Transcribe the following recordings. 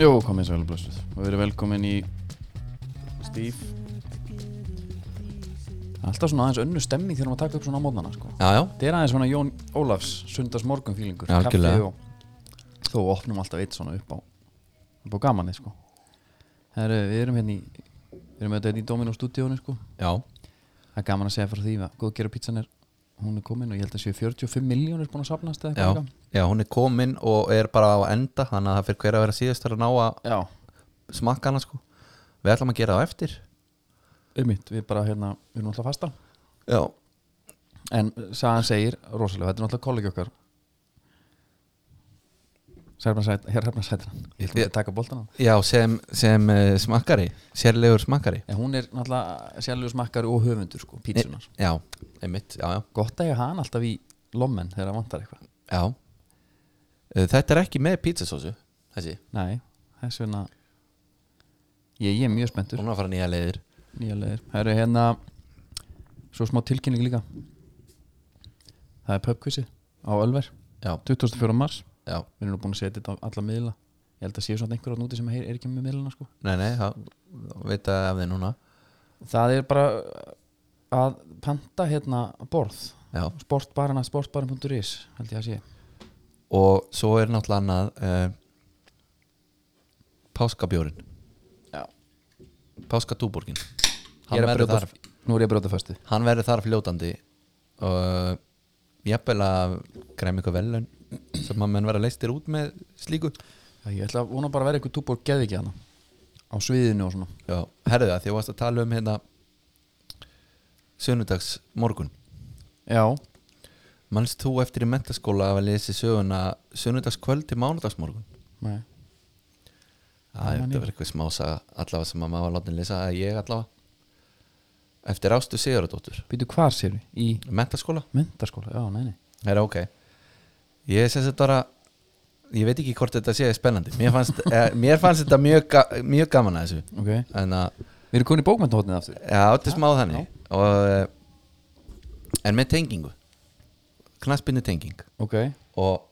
Jú, komið sæl og blessuð og verið velkomin í Stíf Alltaf svona aðeins önnu stemming þegar maður taka upp svona á mótnana sko. Já, já, Þetta er aðeins svona Jón Ólafs sundas morgun fílingur Já, algjörlega. og þó opnum alltaf eitt svona upp á upp á gamanni sko. Heru, Við erum hérna í við erum auðvitað hérna í Dominó stúdíónu sko. já, það er gaman að segja frá því að góðgera pítsan er hún er komin og ég held að séu 45 miljónir búin að safnast eða já, eitthvað líka. já, hún er komin og er bara á enda þannig að það fyrir hver að vera síðast að ná að Já, smakka hana sko Við ætlum að gera það á eftir einmitt, við bara hérna við erum alltaf að fasta Já, En sagan segir rosalega, þetta er náttúrulega kollegi okkar Herrafna Sætran Ég ætlum Ég- að taka boltan á já sem, sem uh, smakkari, sérlegur smakkari En hún er náttúrulega sjálfur smakkari og höfundur sko, pítsunar Já, einmitt, já, já, Gott að ég hann alltaf í lommen þegar það vantar eitthvað já. Eh, Þetta er ekki með pizzasósu, þessi Nei, þess vegna Ég, ég er mjög spenntur Hún er að fara nýja leiðir Nýja leiðir Það eru hérna Svo smá tilkynning líka Það er pubquizið á Ölver Já, 24. mars já, Við erum nú búin að setja þetta á alla miðla Ég held að séu svona einhverjum úti sem heyr- er ekki með miðlana sko nei, nei, það veit að af því núna það er bara að panta hérna borð Já, sportbarana, sportbaran.is held ég að sé og svo er náttúrulega annað uh, Páskabjórin Já. Páskadúborgin Ég er Hann að verður brjóta- þar nú er ég að brjóta föstu hann verður þar fljótandi og jafnvel að græmi ykkur velun sem að menn vera leistir út með slíku ég ætla að vona bara að vera eitthvað túbor geðviki hana á sviðinu og svona Já, herðu það, því að varst að tala um hérna sunnudags morgun já, Manst þú eftir í mentaskóla að vera lesi söguna sunnudagskvöld til mánudagsmorgun? nei, Það Já, er man þetta verið eitthvað smása allavega sem að maður var látin lesa að ég allavega Eftir Ástu Sigurðardóttur býtu hvar sér við í Mentaskóla? myndaskóla, já, nei, nei Það er ok Ég sem þetta var að Ég veit ekki hvort þetta sé spennandi Mér fannst, eh, mér fannst þetta mjög, ga, mjög gaman að þessu ok, En að við erum komin í bókmyndahotnið aftur Já, þetta er smá þannig og, eh, En með tengingu Knaspinu tenging ok, Og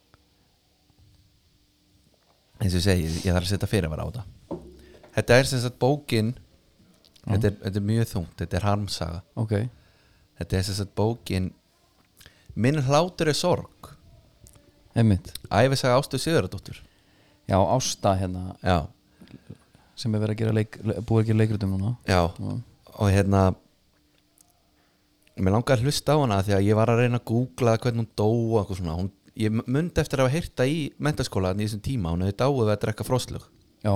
eins og ég segi, ég þarf að setja fyrirvara á þetta Þetta er sem sagt bókin þetta er, þetta er mjög þungt, þetta er harmsaga ok Þetta er sem sagt bókin Minn hlátur er sorg einmitt, Æfisaga Ástu Sigurðardóttur já, Ásta hérna Já, sem er verið að gera leik, le- búið að gera leikritum núna já Já. Og hérna Mér langaði að hlusta á hana Því að ég var að reyna að googla hvernig hún dó og eitthvað svona hún, Ég mundi eftir að hafa heyrta í mentaskólaðan í þessum tíma Hún hefði dáið við að drekka fróslug já,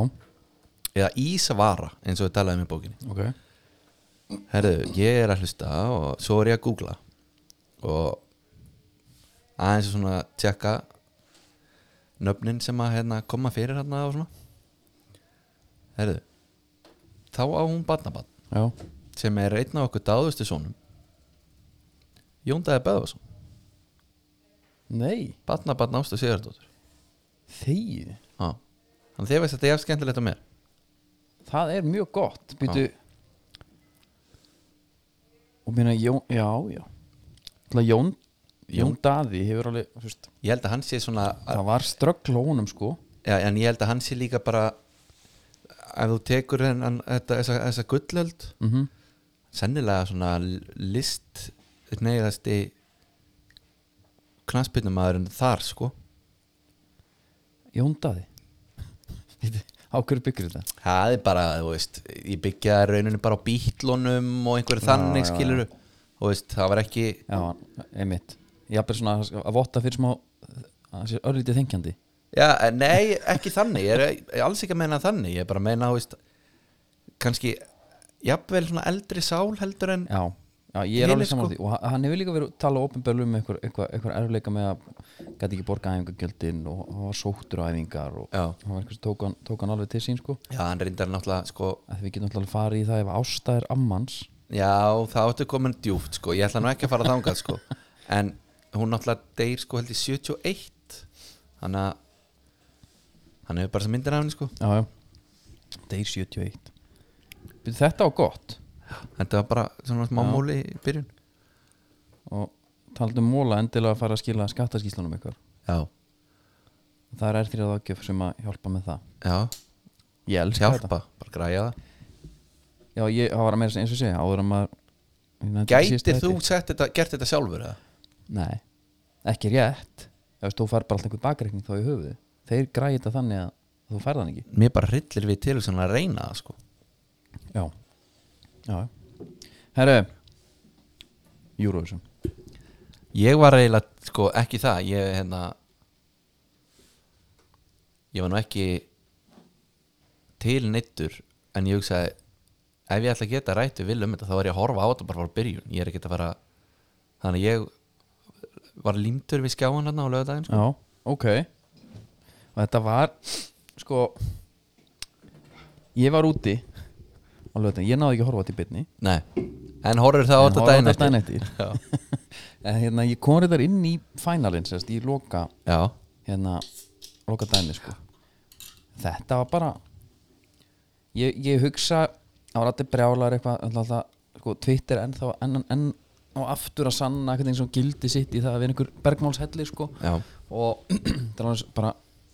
Eða ísvara eins og við talaðum í bókinni ok Herðu, ég er að hlusta og svo er ég að googla Og aðeins svona tjekka nöfnin sem að hérna, koma fyrir hérna og svona Herðu Þá á hún barnabann já, sem er einn af okkur dáðustu sonum Jóndaði Böðvarsson nei, Batna Batna Ástu Sigurdóttur þegið Þannig þegar veist þetta er jafn skemmtilegt á mér Það er mjög gott Býtu Og minna Jón Já, já Ætla, Jón, Jón Daði hefur alveg þú veist, Ég held að hann sé svona Það var ströggl á honum sko ja, En ég held að hann sé líka bara Ef þú tekur en, en, þetta, þessa, þessa gullöld mm Sennilega svona list Neiðasti Knaspinnumæðurinn þar sko Jón Daði Býtu, Á hverju byggur þetta? Það er bara, þú veist Ég byggja rauninni bara á bítlunum Og einhverju þannig já, já. skilur Þú veist, það var ekki Já, einmitt Jafnir svona að- að votta fyrir smá Það sé örlítið þengjandi Já, eh, nei, ekki þannig ég er, ég er alls ekki að meina þannig Ég er bara að meina, þú veist kannski, jafnvel svona eldri sál heldur en Já, já ég er Hinir, alveg saman sko. því Og ha- hann hefur líka verið að tala ofinbörlu um einhver, einhver, einhver erfleika með að gæti ekki borga æfingagjöldin og hann var sóttur á æfingar og Já. hann var eitthvað sem tók hann, tók hann alveg til sín sko Já, hann reyndar náttúrulega, sko að við getum alltaf farið í það ef ásta er ammans Já, þá ertu komin djúpt, sko Ég ætla nú ekki að fara þangað, sko En hún náttúrulega deyr, sko, held í 71 Þannig að Hann hefur bara sem myndir af henni, sko já, já. Deyr 71 Býtu, Þetta var gott Þetta var bara svona smá máli í byrjun og talandi um móla endilega að fara að skila skattaskíslunum ykkur Já, það er erþrið ágjöf sem að hjálpa með það já Ég elska þetta hjálpa, bara græja það Já, ég, það var að meira eins og segja áður að maður ég nefndi Gætir síðasta þú þætti. sett þetta, gert þetta sjálfur eða? Nei, ekki rétt Ef veist, þú fær bara alltaf einhvern bakreikning þá í höfuðu Þeir græði þetta þannig að þú fær þann ekki Mér bara hryllir við til þess að reyna það sko Já, já Herru Eurovision Ég var eiginlega, sko, ekki það Ég, hérna Ég var nú ekki til neittur En ég hugsaði Ef ég ætla að geta rætt við vil um þetta Þá var ég að horfa á þetta bara frá byrjun Ég er ekki að fara Þannig að ég var límtur við skjáan hérna á lögadaginn sko. Já, ok Og þetta var Sko Ég var úti á lögðin, ég náði ekki að horfa á þetta í byrni Nei, en horfir það á En þetta horfir daginn á þetta eftir daginn eftir. Já, en hérna ég kom reyndar inn í finalin sérst, ég loka já, hérna loka dæmi sko þetta var bara ég, ég hugsa það var allir brjálar eitthvað alltaf, alltaf, sko, Twitter ennþá enn, enn og aftur að sanna hvernig sem gildi sitt í það að vera einhver bergmálshellir sko já, og það er alveg bara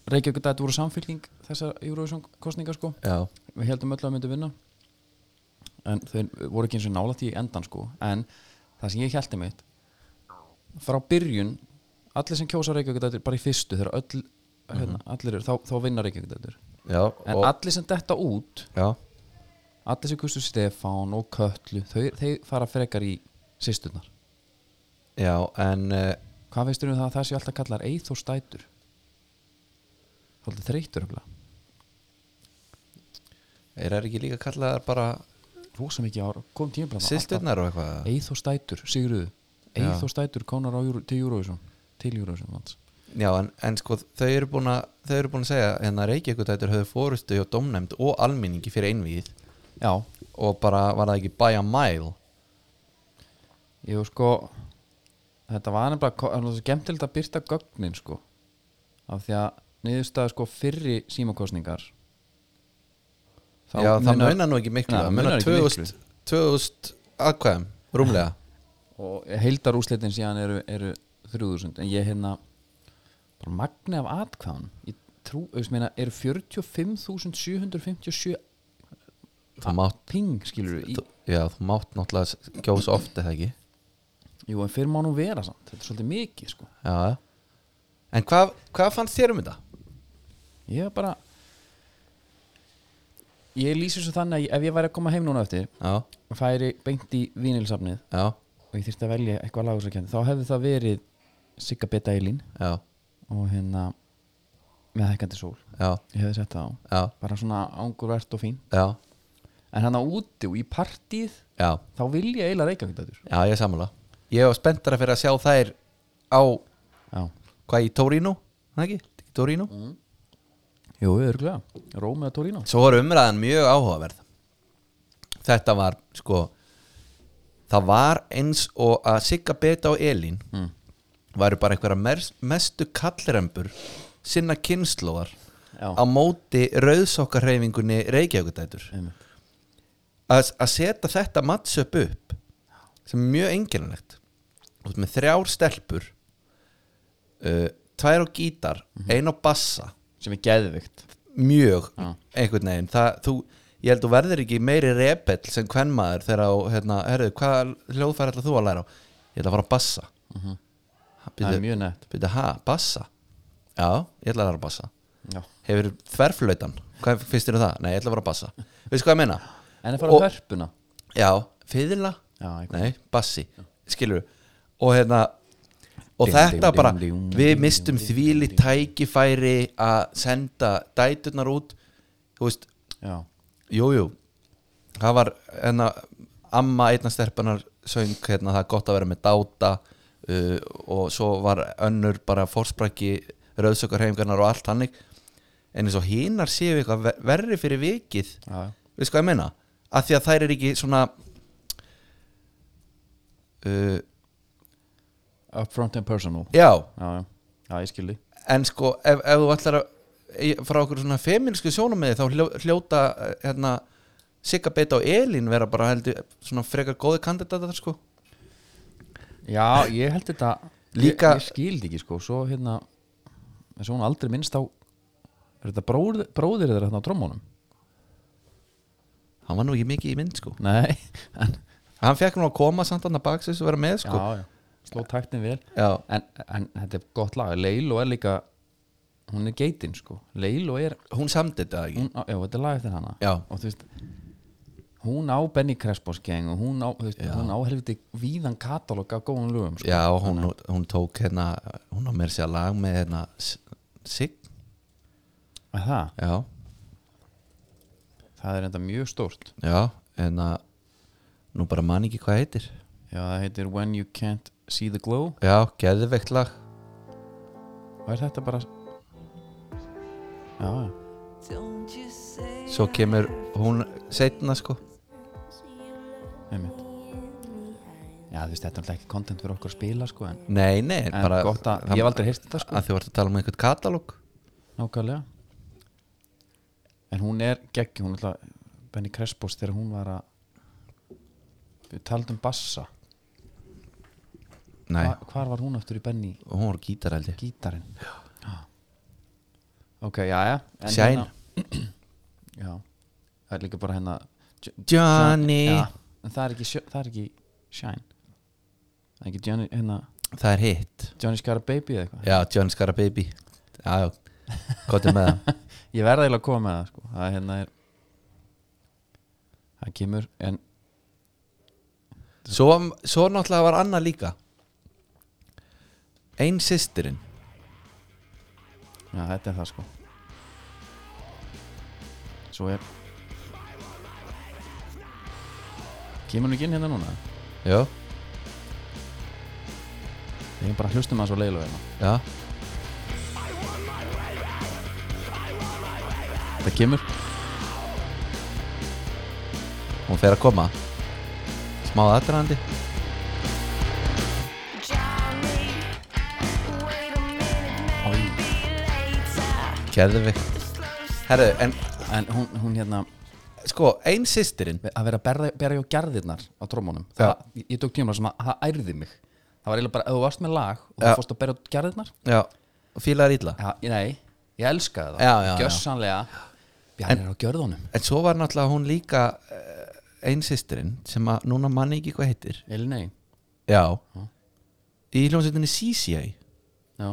Reykjavík þetta voru samfylking þessar Eurovision kostningar sko já við heldum öll að myndu vinna en þeir voru ekki eins og nálætt í endan sko en það sem ég heldi mitt frá byrjun allir sem kjósa Reykjavík dættur bara í fyrstu þegar öll, hérna, allir, eru- þá, þá vinna Reykjavík dættur Já, en og, allir sem detta út já, allir sem kustu Stefán og Köllu þau, þeir fara frekar í sýsturnar já, en uh, hvað veistur um það að það sé alltaf kallar Eithor Stætur þáttið þreytur öfla er það ekki líka kallaðar bara rosa mikið ára, kom tíma sýsturnar og eitthvað? Eithor Stætur, Sigurðu Já. Eithor Stætur konar á, Euro- til Eurovision til Eurovision lands. Já, en, en sko þau eru búin að þau eru búin að segja hérna Reykjavíkutættur höfðu fórustu hjá domnefnd og almenningi fyrir einvíð Já, og bara var það ekki by a mile ég sko þetta var nefnilega ko- það var svo gemtilegt að byrta gögnin sko af því að niðurstaði sko fyrri símakostningar Já, það munar nú ekki miklu Nei, það munar munar ekki 2000 2000 aðkvæðum, rúmlega og heildarúslitin síðan eru, eru 3000 en ég hérna bara magni af atkvæðan ég trú, auðvitað meina eru 45.757 Þú mátt, ping skilur við í, þú, já, þú mátt náttúrulega s- kjósa oft eða ekki jú en fyrir má nú vera samt þetta er svolítið mikið sko Já, já En hvað, hvað fannst þér um þetta? Ég er bara Ég lýsi svo þannig að ég- ef ég væri að koma heim núna eftir Já, og færi beint í vínilsafnið já, og ég þyrfti að velja eitthvað lagur sem kemur þá hefði það verið Sigga Beta Eilín já, og hérna með hækkandi sól já, ég hefði sett það á já, bara svona ángurvert og fín já, en hann á úti og í partíð já þá vil ég eiginlega reykja þetta þurr Já, ég er sammála Ég var spenntara fyrir að sjá þær á Já, hvað í Torino Það ekki? Ekki Torino jú, örgulega Róm eða Torino Svo var umræðan mjög áhugaverð Þetta var sko Það var eins og að Sigga Beta og Elín mm. Væru bara einhverja mers- mestu kallrembur Sinna kynnslóðar Já. Á móti rauðsokkarreifingunni Reykjavíkudætur Einmitt. að, að setja þetta mattsöp upp sem er mjög engjarnlegt með þrjár stelpur uh, tvær á gítar ein á bassa sem er geðvikt mjög einhvern veginn það, þú, ég held þú verður ekki meiri rebell sem kvenmaður þegar á hérna, herðu, hvað hljóðfæri ætla þú að læra á ég ætla að fara á bassa mm Mhm. það er mjög nett byrja, ha, bassa já, ég ætla að læra á bassa Já. hefur þverflöytan, hvað finnst þér um það? nei, ég ætla að fara á bassa, veistu hvað ég meina? en að fara Og- á hörpuna Já, fiðla Já, ég- Nei, bassi, skilur Og hérna Og Ding, þetta ding, bara, ding, ding, við ding, mistum þvíli tækifæri að senda dæturnar út Þú veist, Já, jú, jú Það var, hérna Amma einna stelpunar söng hérna, það er gott að vera með dáta uh, og svo var önnur bara fórsprakki rauðsökarheimingarnar og allt hannig en eins og hinar séu eitthvað ver- verri fyrir vikið já, veist hvað ég meina að því að þær er ekki svona uh, upfront and personal já, já, já, já, ég skilji en sko ef, ef þú ætlar að í- frá okkur svona feminísku sjónamiði þá hljó, hljóta eh, hérna Sigga Beita og Elín vera bara heldur eh, svona frekar góði kandidatar sko Já, ég held þetta Líka- Ég, ég skildi ekki, sko, svo hérna en Svo hún aldrei minnst á Er þetta bróðir, bróðir þeirra hérna á trommónum? hann var nú ekki mikið í mynd sko Nei, en, hann fekk nú að koma samt hann að baksins og vera með sko já, já, sló taktin vel já, en, en þetta er gott lag, Leilo er líka hún er geitin sko Leilo er, hún samdi þetta ekki hún, á- já þetta er lag eftir hana já, og þú veist hún á Benny Crespos geng og hún á, þú veist, hún á helviti víðan katalóg af góðum lögum sko. já hún, hún tók hérna hún á mér sér lag með hérna S- Sig, Er það, já, það er enda mjög stórt já hérna nú bara man ekki hvað heitir já það heitir When You Can't See The Glow já, geðveikt lag og er þetta bara já, já svo kemur hún setna sko einmitt já þú veist þetta er náttúrulega ekki content fyrir okkur að spila sko en, nei, nei, en bara gott að, það- ég hef aldrei heyrst þetta sko að þú vart að tala um einhvern katalóg Nákvæmlega En hún er geggjum hún ætla, Benny Crespos þegar hún var að Við taldum bassa nei, Hva, Hvar var hún aftur í Benny hún var gítarældi gítarinn já. Ok, já, já en Shine. hérna- Já Það er líka bara hérna Johnny já, En það er ekki, sjö- það er ekki Shine Það er ekki Johnny, hérna það er hitt Johnny Scar Baby eða eitthvað já, Johnny Scara Baby já, já, gott er með það Ég verða eiginlega að koma með það sko. Það hérna er Það kemur, en svo, svo náttúrulega var Anna líka ein systirinn Já, þetta er það sko Svo er Kemur hún ekki inn hérna núna? já, Ég er bara að hlustum að svo leilu hérna já, Þetta kemur hún fer að koma smá aðdraðandi geðveikt herru, en En hún, hún hérna sko, ein systirinn Að vera að berja, berja á gerðirnar á trómunum það, Ég ég tók tíma sem að það ærði mig Það var eiginlega bara, ef þú varst með lag Og þú Já. fórst að berja á gerðirnar já, fílaðar illa Já, ég- nei, ég elskaði það Já, já, já. Gjössanlega Bjarni er á gjörðunum en svo var náttúrulega hún líka eh, ein systirinn sem að núna manni ekki hvað heitir Elinei já í hljómsveitinni CCA Já,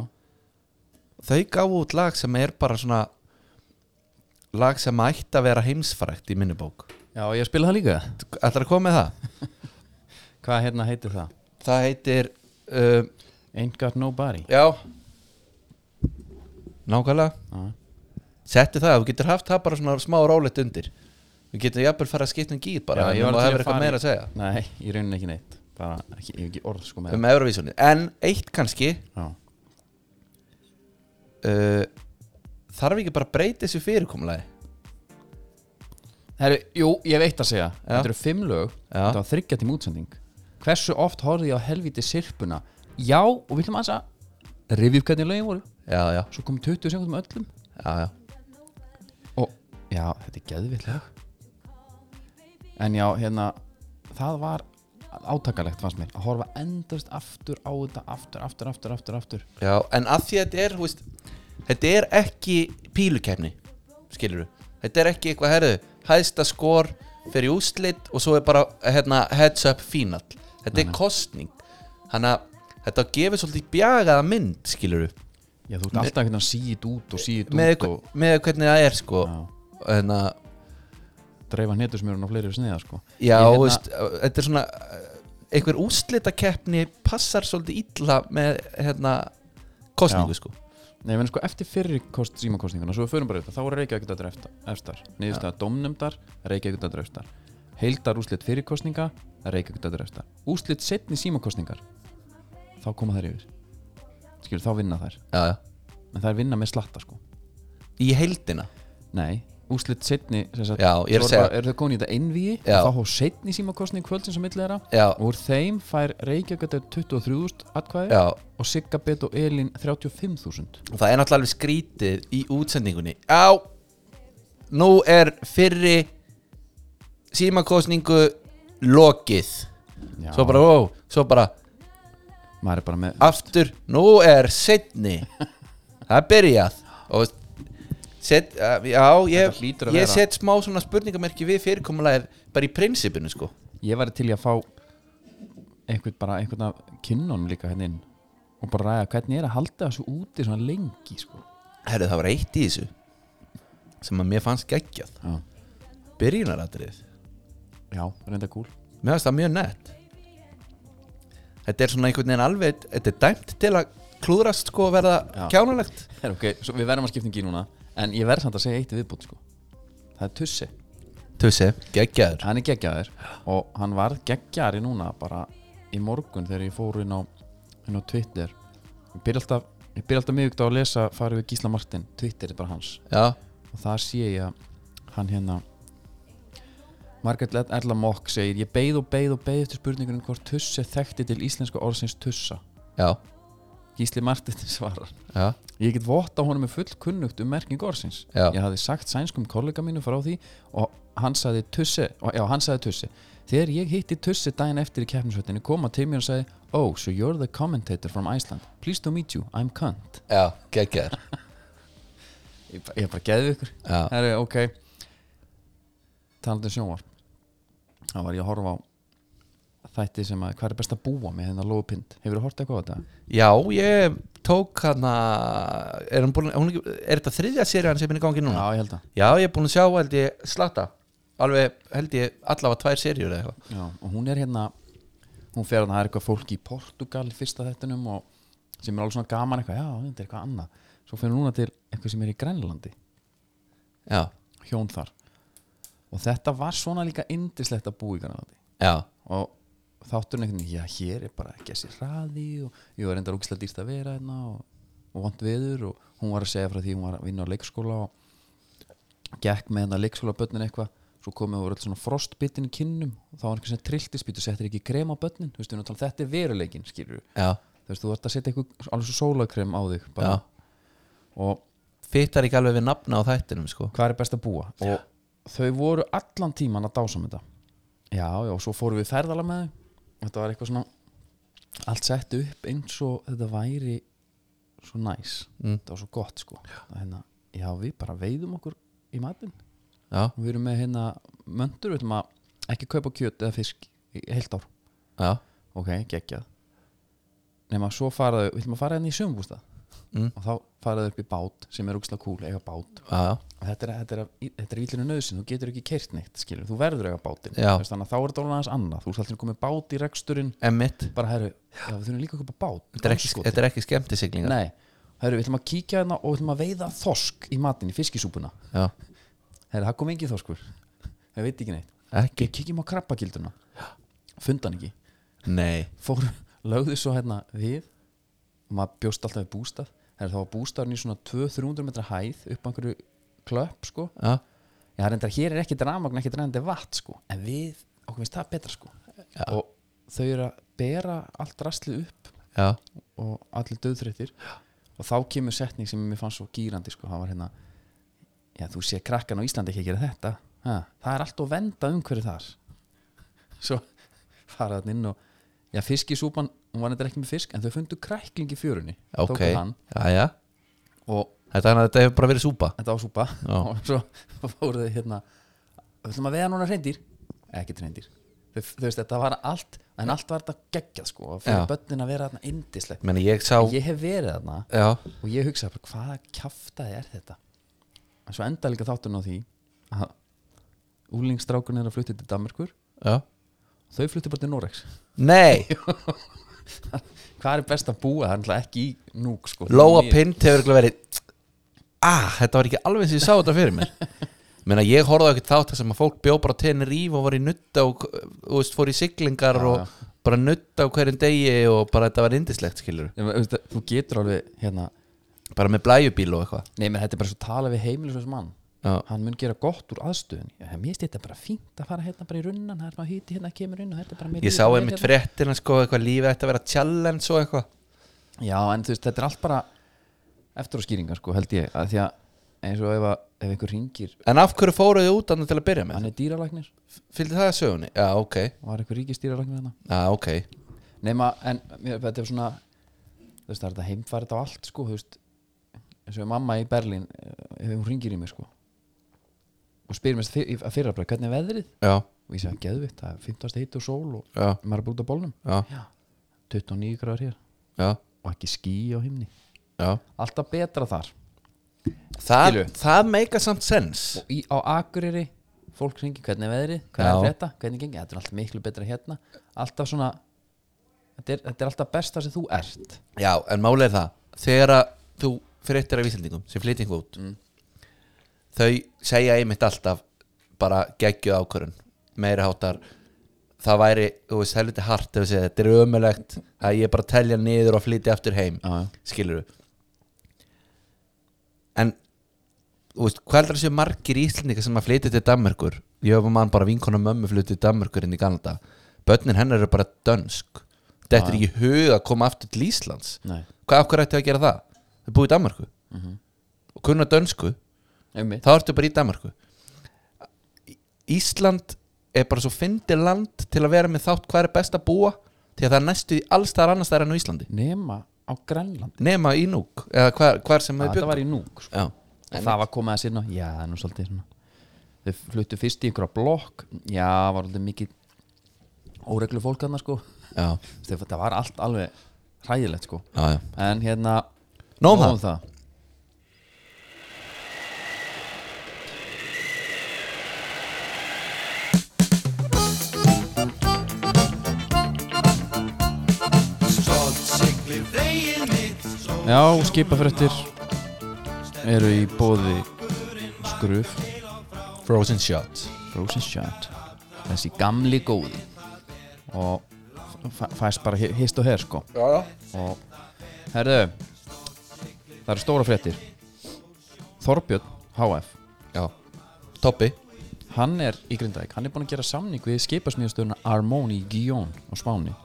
þau gáðu út lag sem er bara svona lag sem ætti að vera heimsfrækt í minni bók já ég spilaði það líka ætlar að koma með það? Hvað hérna heitir það? það heitir uh, Ain't got nobody já nákvæmlega Já. settu það, þú getur haft það bara svona smá rólegt undir við getum jafnvel fara að skipta um gýr Já, bara en ég var þú til hefur að eitthvað fara í- meira að segja Nei, í rauninni ekki neitt bara ekki, ég hef ekki orð sko með um Eurovisionið, en eitt kannski það uh, þarf ekki bara að breyta þessu fyrirkomulagi Herru, jú, ég hef eitt að segja Já. Þetta eru fimm lög, Já. þetta var þryggja tím útsending Hversu oft horfði ég á helviti sirpuna Já, og við ætlum aðeins að rifja upp hvernig lögin voru já, já, Svo kom 20 sekundum öllum já, já Og, já, þetta er geðvill lög En já, hérna Það var átakalegt fannst mér Að horfa endast aftur á þetta Aftur, aftur, aftur, aftur, aftur Já, en að því að þetta er, þú veist, þetta er ekki pílukefni, skilur du? Þetta er ekki eitthvað, herðu, hæðsta skor fyrir úslit og svo er bara, hérna, heads up final. Þetta er kostning. Þannig að þetta gefur svolítið bjagaða mynd, skilur du? Já, þú ert alltaf einhvern veginn að síð út og síð út Með, og hver- með hvernig það er, sko. Já. Þannig að, dreifa hnetusmjörun á fleiri sniða sko. já, Ég þú hérna- veist, þetta er svona, einhver úslitakeppni passar svolítið illa með, hérna, kostningu, Já. sko. Nei, menn sko, eftir fyrri kost, símakostninguna svo við förum bara auðvitað, þá voru Reykjavík dættur eftar niðurstaða ja. domnumdar, Reykjavík dættur eftar heildar úslit fyrir kostninga Reykjavík dættur eftar, úslit setni símakostningar þá koma þær yfir skilur, þá vinna þær Já, já. en þær vinna með slatta sko Í heildina. Nei, úslit setni sem sagt, Já, ég er að svo segja- bara- eru þau komin í þetta einvíi Já. þá hóf setni símakostning kvöldsins á milli þeirra Já, og úr þeim fær Reykjavík dættur 23.000 atkvæði já. og Sigga Bet og Elín 35.000 og það er náttúrulega alveg skrítið í útsendingunni já nú er fyrri símakosningu lokið Já. svo bara, ó, svo bara maður er bara með aftur, nú er setni það er byrjað og set, uh, já, ég, Þetta hlýtur að ég vera- set smá svona spurningamerki við fyrirkomulega bara í prinsipinu sko Ég væri til í að fá einhvern bara einhvern af kynnunum líka hérna inn og bara ræða hvernig er að halda þessu úti svona lengi sko. Herru, það var eitt í þessu sem að mér fannst geggjað Já, byrjunaratrið já reynda cool mér finnst það mjög nett þetta er svona einhvern veginn alveg þetta er dæmt til að klúðrast sko að verða Já. kjánulegt Her, okay, svo Við verðum að skipta um gír núna en ég verð samt að segja eitt í viðbútt sko. Það er Tussi Tussi, geggjaður hann er geggjaður og hann varð geggjari núna bara í morgun þegar ég fór inn á, inn á Twitter ég byrja alltaf, ég byrja alltaf miðvíkt á að lesa farið við Gísla Martin, Twitter er bara hans já, og þar sé ég að hann hérna Margaret Led- Erla Mock segir ég beið og beið og beið eftir spurningunum hvort Tusse þekkti til íslenska orðsins Tussa já, Gísli Martin svarar já Ég get votta honum með full kunnugt um merking orðsins Já. Ég hafði sagt sænskum kollega mínu frá því og hann sagði tussi og, Já, hann sagði tussi Þegar ég hitti tussi daginn eftir í keppnisvöldinu kom hann til mér og sagði Oh, so you're the commentator from Iceland Pleased to meet you, I'm cunt já, geggjaður Ég, bara- ég bara geði ykkur já, Herri, ok Talandi um sjónvarp Þá var ég að horfa á þætti sem að hvað er best að búa með hérna lóðpind Hefur þú hort eitthvað á þetta? já, ég tók hana er, hann búin, hún, ekki- er þetta þriðja serían sem er í gangi núna? Já, ég held að Já, ég er búin að sjá held ég slatta Alveg held ég allavega tvær seríur eða eitthvað Já, og hún er hérna hún fer að það er eitthvað fólk í Portugal í fyrsta þettunum og sem er alveg svona gaman eitthvað, já, þetta er eitthvað annað svo fer hún núna til eitthvað sem er í Grænlandi Já, hjón þar og þetta var svona líka indislegt að búa í Grænlandi já, og þátturinn einhvern veginn, já, hér er bara ekki þessi hraði og ég var reyndar úkslega dýrst að vera hérna og, og vant veður og hún var að segja frá því hún var að vinna á leikskóla og gekk með hennar leikskóla börnin eitthvað svo komið voru öll svona frostbitin í kinnum og þá var einhvern sem trilltisbít og settir ekki krem á börnin þú veist, við erum að tala, um, þetta er veruleikin, skilur já þú veist, þú ert að setja eitthvað alveg svo sólakrem á þig bara. Já. og Fittar ekki alveg við nafna á þættinum sko hvað er best að búa og þau voru allan tíman að dásam þetta já, já, og svo fórum við ferðala með þau þetta var eitthvað svona allt sett upp eins og þetta væri svo næs Mm. þetta var svo gott sko já. Hérna, já, við bara veiðum okkur í matinn Já, við erum með hérna möndur, við veitum að ekki kaupa kjöt eða fisk í heilt ár já, ok, geggjað nema svo faraðu, við viljum að fara henni í sömbústa Mm. og þá faraðu upp í bát sem er úksla kúl, eiga bát já, já, Og þetta er, þetta er, þetta er íllinu nöðsinn, þú getur ekki keirt neitt skilur, þú verður að eiga bátinn Já. Þú veist, þannig að þá er þetta alveg aðeins annað, þú ert alltaf komið bát í reksturinn emmitt bara herru, já, við þurfum líka að köpa bát Þetta er ekki, Bátskoti. þetta er ekki skemmtisiglingar Nei, herru, við ætlum að kíkja hérna og við ætlum að veiða þorsk í matinn, í fiskisúpuna Já, herru, það kom engin þorskur það veit ekki neitt, ekki Ég kíkjum á krabbagilduna fundan ekki Nei, fór, lögðu svo hérna við og maður bjóst alltaf við bústað þegar þá var bústaðurinn í svona 200-300 metra hæð upp á einhverju klöpp sko já, já, reyndar, hér er ekki dramagn, ekki drænandi vatn sko en við, okkur finnst það betra sko Já. og þau eru að bera allt rastlið upp já, og allir döðþreyttir og þá kemur setning sem mér fannst svo gýrandi sko, það var hérna já, þú sé krakkan á Íslandi ekki að gera þetta ha, það er allt og venda umhverju þar svo fara þann inn og já, fiskisúpan, hún var neitt ekki með fisk en þau fundu krækling í fjörunni ok tóku hann Já, já, og þetta, er- þetta hefur bara verið súpa þetta á súpa Já. og svo fóru þau hérna við ætlum að veiða núna hreindir ekkert hreindir þau, þau veist þetta var allt en allt var þetta geggjað sko og fyrir Já. börnin að vera þarna indislegt Meni ég sá, ég hef verið þarna já, og ég hugsaði bara hvaða kjaftaði er þetta en svo enda líka þátturinn á því að úlingstrákurinn er að flytja til Danmarkur já þau flytja bara til Norex Nei, hvað er best að búa, það er náttúrulega ekki í núk sko Lóa Því miður. Pind hefur örugglega verið ah, þetta var ekki alveg sem ég sá þetta fyrir mér menna ég horfði á ekkert þátt þar sem að fólk bjó bara tenni ríf og var í nutta og þú veist, fór í siglingar Já, og bara nutta á hverjum degi og bara þetta var indislegt skilur Ég meina, veistu, þú getur alveg hérna bara með blæjubíl og eitthvað nei, menn þetta er bara svo tala við heimilisvæs mann Já. hann mun gera gott úr aðstöðun mér finnst þetta bara fínt að fara hérna bara í runnan það er maður hýti hérna kemur inn og þetta er bara mér ég líður sá bara vel einmitt hérna. fréttina sko eitthvað lífið ætti að vera challenge og eitthvað Já, en þú veist, þetta er allt bara eftir á skýringar, sko, held ég að því að eins og ef, að, ef einhver ringir en af hverju fóruðu út annað til að byrja með hann er dýralæknir, fylgdi það sögunni? Já, ok, var einhver ríkistýralæknir hérna já, ok nema, en mér, þetta er svona þú veist, það er þetta heimfærið á allt, sko, þú veist eins og mamma í Berlín eh, ef hún ringir í mig sko og spyrir mér þi- að fyrra bara hvernig er veðrið já, og ég segi geðvitt, það er 15. hitt og sól og já, maður er bara út á bólnum já, 29 gráður hér já, og ekki ský á himni já. alltaf betra þar Það, Skilju. það meika samt sens og í, á Akureyri fólk ringi hvernig er veðrið, hvernig Já. er þetta hvernig gengi, þetta er alltaf miklu betra hérna alltaf svona þetta er, þetta er alltaf besta sem þú ert Já, en málið er það Þegar að þú fréttir af Íslandingum sem flytting út þau segja einmitt alltaf bara geggju ákvörun meiri háttar það væri, þú veist, helviti hart ef við segja þetta er ömulegt að ég er bara að telja niður og flytja aftur heim Já, já. skilur við en þú veist, hvað heldur þessu margir Íslandingar sem að flytja til Danmörkur ég hef mann bara vinkona mömmu flytja til Danmörkur inn í Kanada, börnin hennar eru bara dönsk, þetta er Já, ekki hug að koma aftur til Íslands Nei. hvað okkur ætti að gera það? Þau búið í Danmörku og kunna dönsku, einmitt, þá ertu bara í Danmörku Ísland er bara svo fyndi land til að vera með þátt hvað er best að búa því að það er næstu í alls þar annars þar enn á Íslandi nema á Grænland nema í Núk, eða hvar, hvar sem þau þetta byggur var í núk sko. Já, og það var komið að sinna, já það er nú svolítið svona þau fluttu fyrst í einhverja blokk já, var alltaf mikið óreglu fólk hann sko já, Þau- þetta var allt alveg hræðilegt sko já, já en hérna Nóg um nóg um það. það Já, skipafrættir eru í bóði skruf um Frozen Shot Frozen Shot þessi gamli góði og fæ- fæst bara hi- hist og her sko Já, já og herðu það eru stóra fréttir Þorbjörn HF Já, Toppi hann er í Grindavík, hann er búinn að gera samning við skipasmíðastöðuna Armoni Gion á Spáni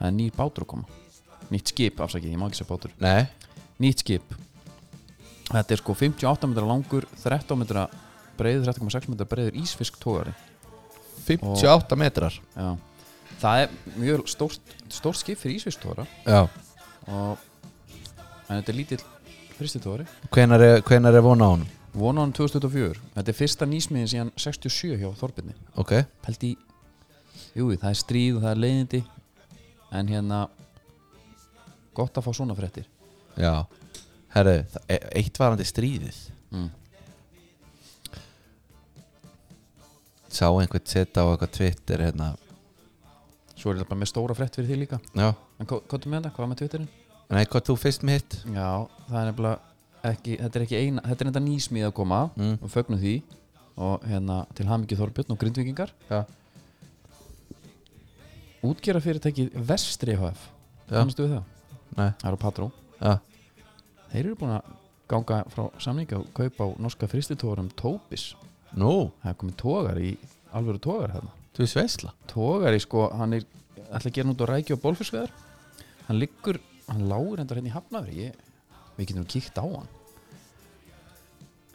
það er nýr bátur að koma nýtt skip, afsakið, ég má ekki segja bátur Nei, nýtt skip þetta er sko 58 metra langur 13 metra breiður, 13,6 metra breiður ísfisk tógari 58 metrar Já. það er mjög stórt, stórt skip fyrir ísfisk tógara Já og en þetta er lítill fristitógari Hvenær er, hvenær er vona á honum? vonan 2004, þetta er fyrsta nýsmiðin síðan 67 hjá Þorbirni Ok, held í jú, það er stríð og það er leiðindi en hérna gott að fá svona fréttir já Herru, það- e- eitt varandi stríðið mm. sá einhvern setja á eitthvað Twitter hérna svo er þetta bara með stóra frétt fyrir því líka já, en hvað hvað er með þetta, hvað er með Twitterinn? nei, hvað þú fyrst með hitt já, það er nefnilega ekki, þetta er ekki eina, þetta er þetta nýsmíð að koma Mm. og fögnum því og hérna til hamingi Þorbjörn og grindvikingar já, útgera fyrirtækið Vestri HF Já. hannastu við það, nei, það eru patró já, þeir eru búin að ganga frá samninga og kaupa á norska fristitórum Tóbis nú það er komið tógar í, alvöru tógar hérna þú er sveisla Tógari sko, hann er ætla að gera hann út á rækju og bólfiskveðar hann liggur, hann lágur endar hérna í hafnafri ég, við getum kíkt á hann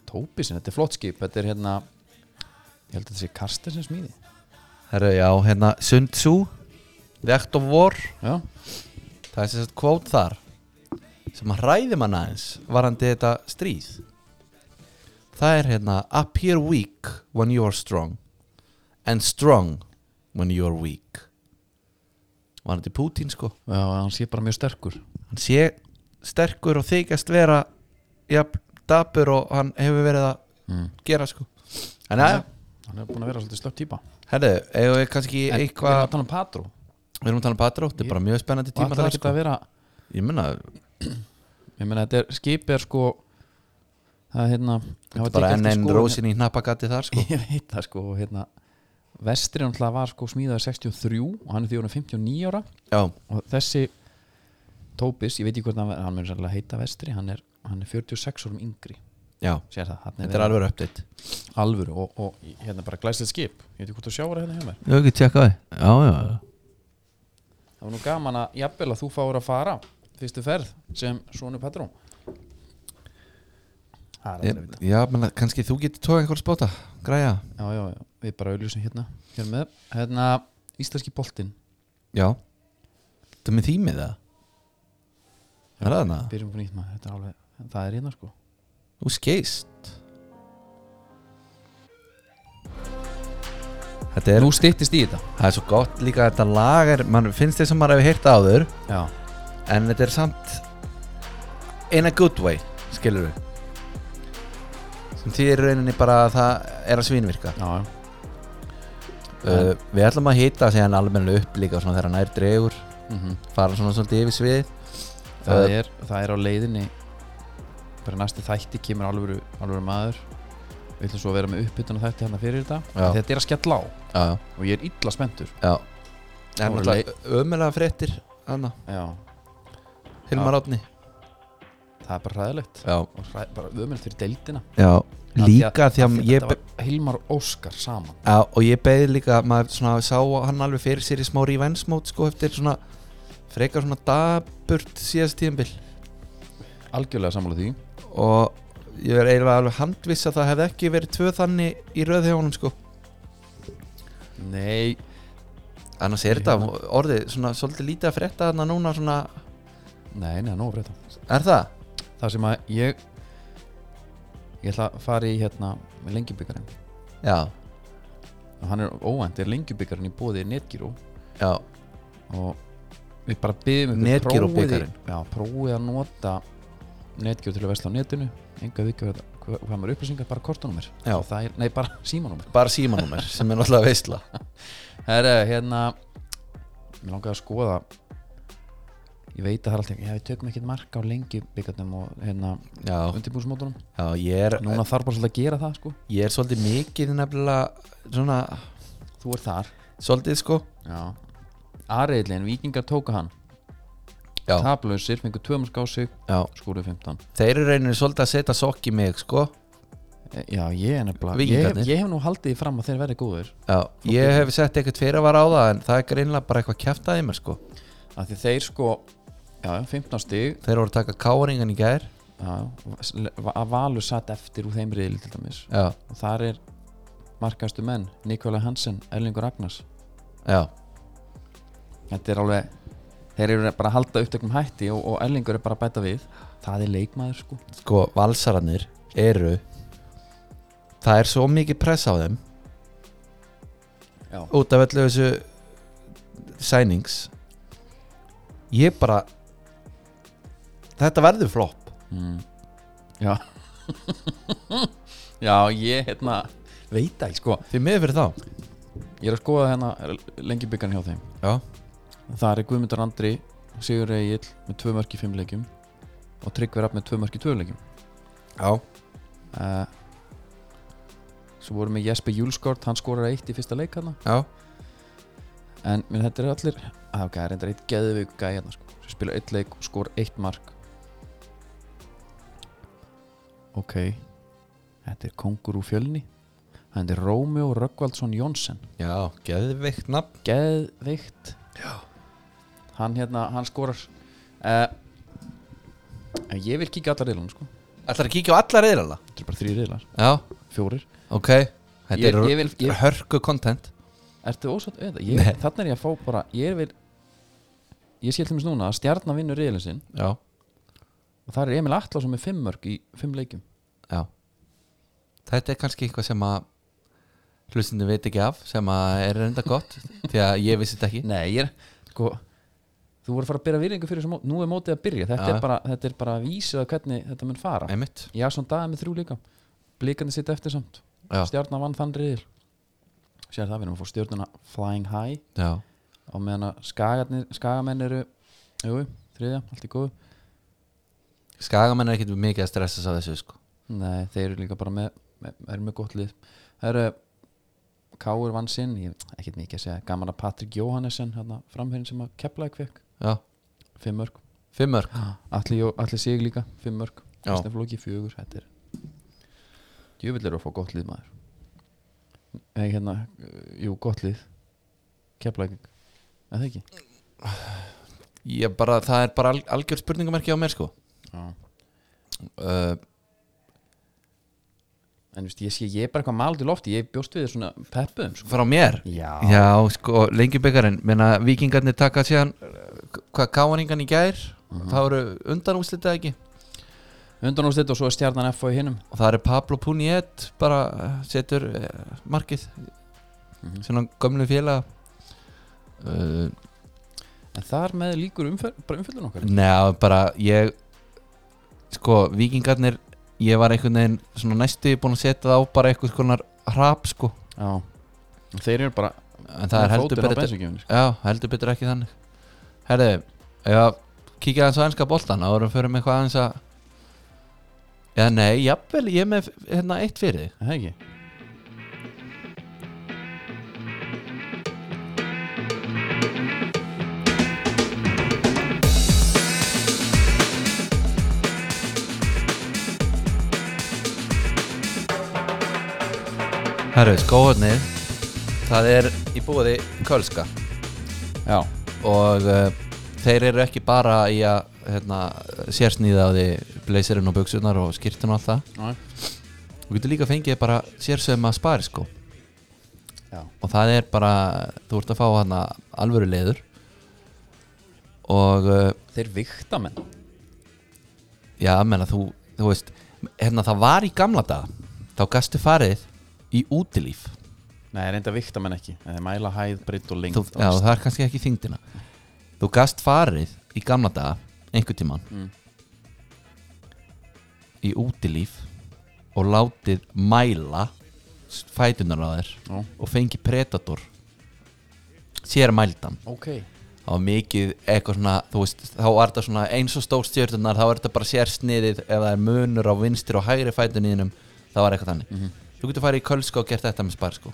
Tóbisin, þetta er flott skip þetta er hérna ég held að þetta sé Karstensen smíði herru, já, hérna, Sun Tzu The Act of War, já, það er sem sagt kvót þar sem að hræði mann aðeins varandi þetta stríð það er hérna appear weak when you are strong and strong when you are weak varandi Putin sko já, hann sé bara mjög sterkur hann sé sterkur og þykjast vera jafn dapur og hann hefur verið að mm. gera sko en aðja, hann er búin að vera svolítið slöpp típa herðu, eigum við kannski En við E- eitthvað, erum að tala um Patró við erum að tala um Patró þetta er bara mjög spennandi og tíma ætlar þar ekki sko að vera ég menna, ég meina þetta er skip er sko það er hérna þetta er bara enn einn rósin í hnappagati þar sko ég veit það sko og hérna vestri náttúrulega var sko smíðaður 63 og hann er því orðinn 59 ára já, og þessi Tóbis, ég veit ekki hvort hann, hann mun sannlega heita vestri hann er, hann er 46 árum yngri já, sér það, hann þetta er alveg uppdeitt alveg alvöru og, og hérna bara glæslið skip ég veit ekki hvort þú sjáur hérna hjá mér ég hef ekki tjekkað það, já, já, já það var nú gaman að jafnvel að þú fáur að fara fyrstu ferð sem Sónu Patrón það er alveg Ég- vita já, menna, kannski þú getur tóð einhver spota, græja já, já, já, við bara auðlýsum hérna hérna með, hérna, íslenski boltinn já, þetta er með þýmið það er það hana? byrjum frá nýtt maður, þetta er alveg það er hérna sko Þú skeist Þetta er, Nú styttist í þetta það er svo gott líka að þetta lag er, mann finnst þess að maður hefur heyrt áður Já, en þetta er samt in a good way, skilur við sem því er rauninni bara að það er að svínvirka já, já. uh, Við ætlum að hýta síðan almenna upp líka svona þegar hann er dregur Mhm. fara svona svolítið yfir sviðið það, Uh, er, það er á leiðinni bara næsti þætti kemur alvöru, alvöru maður við ætlum svo að vera með uppbytun og þætti hérna fyrir þetta Já. En þetta er að skella á Já, já, og ég er illa spenntur já Það voru Ömulega fréttir, Anna, já, Hilmar Átni það er bara hræðilegt Já, og hræ, bara ömulegt fyrir deildina já Líka Af því að ég þetta var Hilmar og Óskar saman Já, og ég beði líka að maður svona sá hann alveg fyrir sér í smá revenge-mót sko eftir svona frekar svona daburt síðast tíðanbill algjörlega sammála því og ég er eiginlega alveg handviss að það hefði ekki verið tvö þannig í röð hjá honum sko nei, annars er þetta orðið svona svolítið lítið að frétta þarna núna svona nei, nei, nú að breyta er það? það sem að ég ég ætla að fara í hérna með lengjubyggarinn Já, og hann er óvænt, er lengjubyggarinn í bóði netgíró já, og við bara byggjum Netgyro bikarinn. já, prófið að nota netgyró til að vesla á netinu enga vika hvað, hvað maður upplýsingar bara kortanúmer Já. Og það er, nei bara símanúmer bara símanúmer sem er náttúrulega veistla herru, hérna mér langaði að skoða ég veit að það er alltaf já, við tökum ekkert mark á lengi byggarnum og hérna Já, undirbúrsmótunum já, ég er, núna þarf bara svolítið að gera það sko ég er svolítið mikið nefnilega svona, þú er þar svolítið sko já Ariðlin, vikingar tóka hann Já, Tablausir, fengur tvömarsk á sig já, Skúrið 15 þeir eru reynir svolítið að setja sokk í mig sko E, Já, ég er nefnilega ég, Víkingarnir. ég hef nú haldið því fram að þeir verði góður Já, ég hef sett eitthvað fyrirvara á það en það er greinlega bara eitthvað kjæftaði mér sko af því þeir sko já, 15 stig Þeir voru að taka káringan í gær já, va- að Valur satt eftir úr þeim riðli til dæmis Já, og þar er markastu menn Nikola Hansen, Erlingur Ragnars já, þetta er alveg þeir eru bara að halda upptökum hætti og, og Erlingur er bara að bæta við það er leikmaður sko sko valsararnir eru Það er svo mikið press á þeim já, út af öllu þessu sænings Ég bara Þetta verður flopp mm. já. já ég hérna veit ekki sko Því miður fyrir þá ég er að skoða hérna lengi byggjan hjá þeim Já, Það er Guðmundur Andri, Sigur Egil með tvö mörk í fimm leikjum og Tryggvi Rapp með tvö mörk í tvö leikjum já, uh, Svo vorum við Jesper Júlskort, hann skorar eitt í fyrsta leik hana já, en minn þetta er allir, að ok, það er reyndar eitt geðveik gæði hérna sko, sem spila eitt leik og skor eitt mark Ok Þetta er Kongur úr fjölni Þetta er Rómjó Röggvaldsson Jónsson já Geðveikt nafn geðveikt hann hérna, hann skorar uh, ég vil kíkja allar reyðlan sko. Ætlar að kíkja á alla reyðrala þetta er bara þrý reyðlar, Já, fjórir ok Þetta Ég- er ég vil- ég- hörku content ertu ósatt eða? Ég, þannig er ég að fá bara ég vil ég sé til mér núna að stjarnan vinnur reyðlan sinn Já, og það er Emil Atlason með fimm mörg í fimm leikjum Já Þetta er kannski eitthvað sem að hlustinu veit ekki af sem að er reynda gott því að ég vissi þetta ekki nei, ég er sko þú voru að fara að byrja virðingu fyrir þessu mót nú er mótið að byrja, þetta, Já. er, bara, þetta er bara að vísið að hvernig þetta mun fara Einmitt Já, svona dagið með þrjú líka Blikandi sitt eftir samt Já. Stjarnan vann þann riðil Sér það, við erum að fá stjörnuna flying high Já, og meðan að skagarnir- skagamenn eru Jú, þriðja, allt í góðu skagamenn er ekkit mikið að stressa sig á þessu sko Nei, þeir eru líka bara með, með eru með gott lið Það eru Káur vann sinn, ég ekkert mikið að segja gaman að Patrik Jóhannesson, hérna framherrin sem að keplaði kvekk, Já, fimm mörg fimm mörg Atli, Jó- Atli Sig líka, fimm mörg Já. Kristján Flóki, fjögur, þetta er djöfull eru að fá gott lið maður Nei, hérna eh, jú, gott lið Keflæking, er það ekki? Ég bara, það er bara al algjör spurningamerki á mér sko Já. uh, En veist, ég sé, ég er bara eitthvað mald í lofti ég bjóst við svona peppuðum sko. Frá mér Já, Já, sko, lengi byggarinn menna vikingarnir taka Mhm. síðan uh, hvað káningan í gær það voru undan úrslitað ekki undanúrslit Mhm. og svo er stjarnan F í hinnum og það er Pablo Puniet bara eh, setur eh, markið Mhm. svona gömlu félaga uh, en þar með líkur umfyr, bara umfyllun okkar neða bara ég sko vikingarnir ég var einhvern veginn svona næstu búin að setja það á bara eitthvað skonar hrap sko já Og þeir eru bara en það er heldur fótinn á betur bensíngjöfinni, sko. já heldur betur ekki þannig herðu ef að kíkja aðeins á ennska boltan árum fyrir með eitthvað aðeins að já nei jafnvel ég er með hérna eitt fyrir þig. Er það ekki herðu skóðarnir það er í búiði kölska já og uh, þeir eru ekki bara í að hérna, sérsnýða á því blazerinn og buksunar og skýrtun og allt það Næ. þú getur líka fengið bara sérsöma spari sko já og það er bara, þú ert að fá hana alvöru leður og uh, þeir vikta menn já, menna þú, þú veist hérna það var í gamla daga þá gastu farið í útilíf nei reynda vikta menn ekki En þeir mæla hæð breytt og lengt þú, já, það er kannski ekki þyngdina þú gast farið í gamla daga einhvern tímann Mm. í útilíf og látið mæla s- fæturnar á þér Já. og fengi predator sér mældan ok það var mikið eitthvað svona þú veist, þá er þetta svona eins og stórstjörnunar þá er þetta bara sérsniðið ef það er munur á vinstri og hægri fætuninum það var eitthvað þannig þú getur farið í kölska og gert þetta með spar sko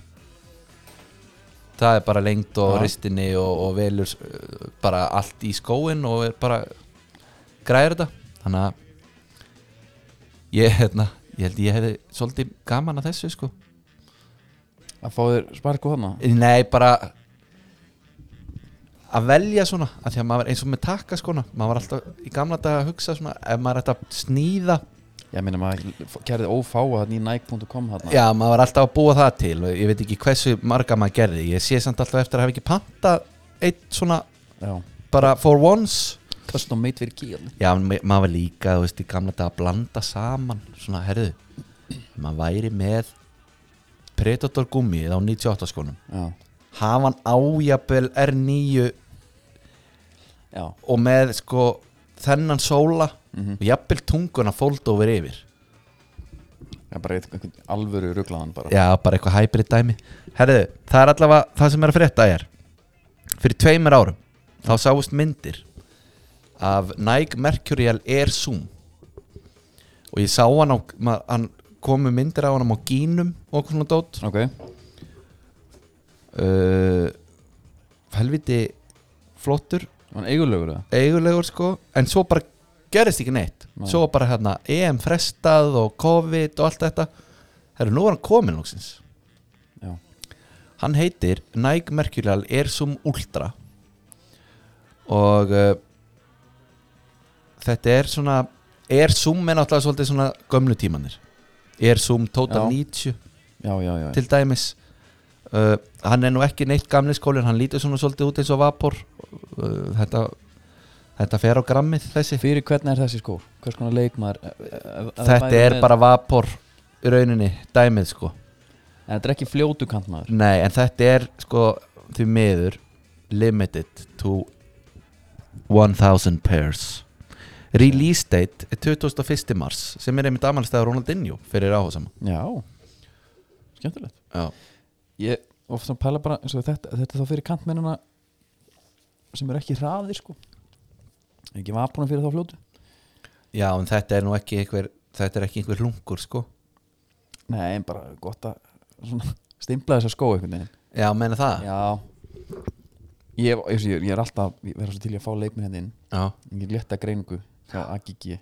það er bara lengt og Já. ristinni og, og velur uh, bara allt í skóin og er bara græðir þetta þannig að ég, hérna, ég held ég hefði svolítið gaman að þessu sko að fá þér sparku þarna Nei, bara að velja svona að því að maður eins og með takka skona maður var alltaf í gamla dag að hugsa svona ef maður ætti að snýða ég meina maður gerði ófáa þarna í nike.com þarna já, maður var alltaf að búa það til og ég veit ekki hversu marga maður gerði ég sé samt alltaf eftir að hafa ekki panta eitt svona já bara for once custom made fyrir kíl já, en ma- maður var líka, þú veist, í gamla dag að blanda saman svona, herðu maður væri með Predator gummið á 98 skonum já hafa hann ájabel R9 já og með sko þennan sóla Mhm. og jafnvel tunguna fóld over yfir það er bara eitthvað einhvern alvöru ruglaðan bara já, bara eitthvað hybrid dæmi herðu, það er allavega það sem er að frétta er fyrir tveimur árum þá sáust myndir af Nike Mercurial Air Zoom og ég sá hann á ma- hann komu myndir af hann á gínum og okkur svona dót ok uh, helviti flottur hann eigulegur það eigulegur sko en svo bara gerist ekki neitt Nei. svo var bara hérna EM frestað og COVID og allt þetta herru nú var hann komin lóksins já hann heitir Nike Mercurial Airsum Ultra og uh, þetta er svona Airsum er náttúrulega svolítið svona gömlu tímanir Airsum Total Já. 90 já já já til dæmis uh, hann er nú ekki neitt gamli skólin hann lítur svona svolítið út eins og vapor uh, þetta, þetta fer á grammið þessi fyrir hvernig er þessi skór hvers konar leikmaður eh, eh, ef- ef það þetta væri er með- bara vapor í rauninni, dæmið sko en þetta er ekki fljótu kantmaður nei, en þetta er sko því miður limited to 1000 pairs release date er 21. mars sem er einmitt amalstæður Ronaldinho fyrir áhásama já skemmtilegt já, ég ofta pæla bara eins og þetta þetta er þá fyrir kantmennina sem er ekki hraðir sko ekki vapunum fyrir þá fljótu já en þetta er nú ekki einhver, þetta er ekki einhver lungur sko nei en bara gott að svona stimpla þessa skó einhvern veginn já, meina það Já Ég, ég, ég, ég er alltaf ég verður svo til í að fá leikminn hérna inn já, Ég get létta greiningu hjá AGG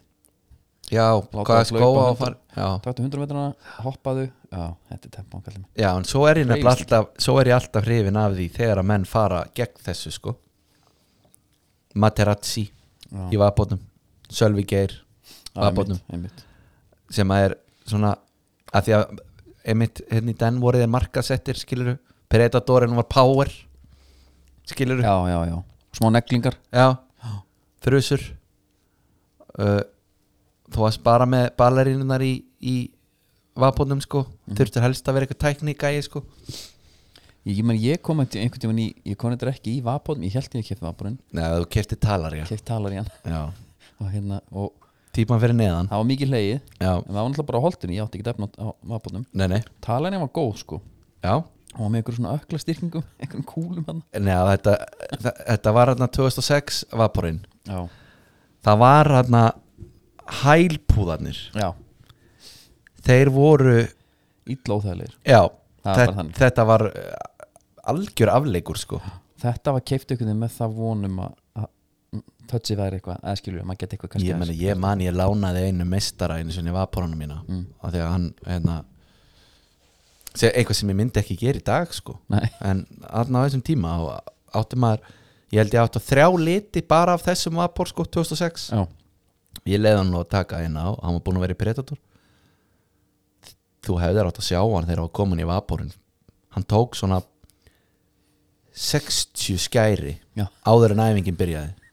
já Láta hvað að skó hlaupa á að hundrað. fara já. Taktu 100 metrana, hoppaðu Ah. Já, þetta er tempón kallið mig já, en svo er ég nefnilega Hreyfist alltaf svo er ég alltaf hrifin af því þegar að menn fara gegn þessu sko Materazzi í Já, vapotnum Sölvi Geir Já, vapotnum einmitt, einmitt. sem að er svona að því að einmitt hérna í den voru þeir markasettir skiluru Predatorin var Power skiluru já, já, já Smá neglingar Já, þrjusur uh, þó að spara með ballerinnar í, í vapónum sko, þurftur helst að vera eitthvað tæknika í sko Ég, ég, man, ég kom einhvern einhvern tímann í Ég kom eitthvað ekki í vapónum, ég held ég að kefti vapónum Nei, þú kefti talar, já, Keft talar í hann já. og, hérna, og Típan fyrir neðan það var mikið hlegið En Já, það var náttúrulega bara á holdinu, ég átti ekki efna á vapónum nei, nei, Talarinn var góð sko já Hún var með einhverjum svona ökla styrkingum, einhverjum kúlum hann Nei, að þetta, þa- þetta var hérna 2006 vapurinn Já, Það var hérna hælpúðarnir já, Þeir voru, illa óþægilegir já Það þe var þannig. Þetta var eh, algjör afleikur sko Þetta var keift einhvern veginn með það vonum að- að Tötsi væri eitthvað, eða skilur, maður geti eitthvað ég, meni, ég man ég lánaði einu mestara einu sinni vaporunum mína Mm. af því að hann hérna, sem- eitthvað sem ég myndi ekki gera í dag sko. Nei, en þarna á þessum tíma þá átti maður, ég held ég átti þrjá liti bara af þessum vapor sko 2006 já, ég leiði hann nú að taka eina á hann var búinn að vera í Predator þú hefðir átt að sjá hann þegar hann var komin í vaporun hann tók svona 60 skæri já, áður en æfingin byrjaði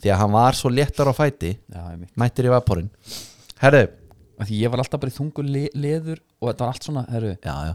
því að hann var svo léttar á fæti já, ég mig mættir í vaporinn herru, Því ég var alltaf bara í þungu le leður og þetta var allt svona, herru já, já,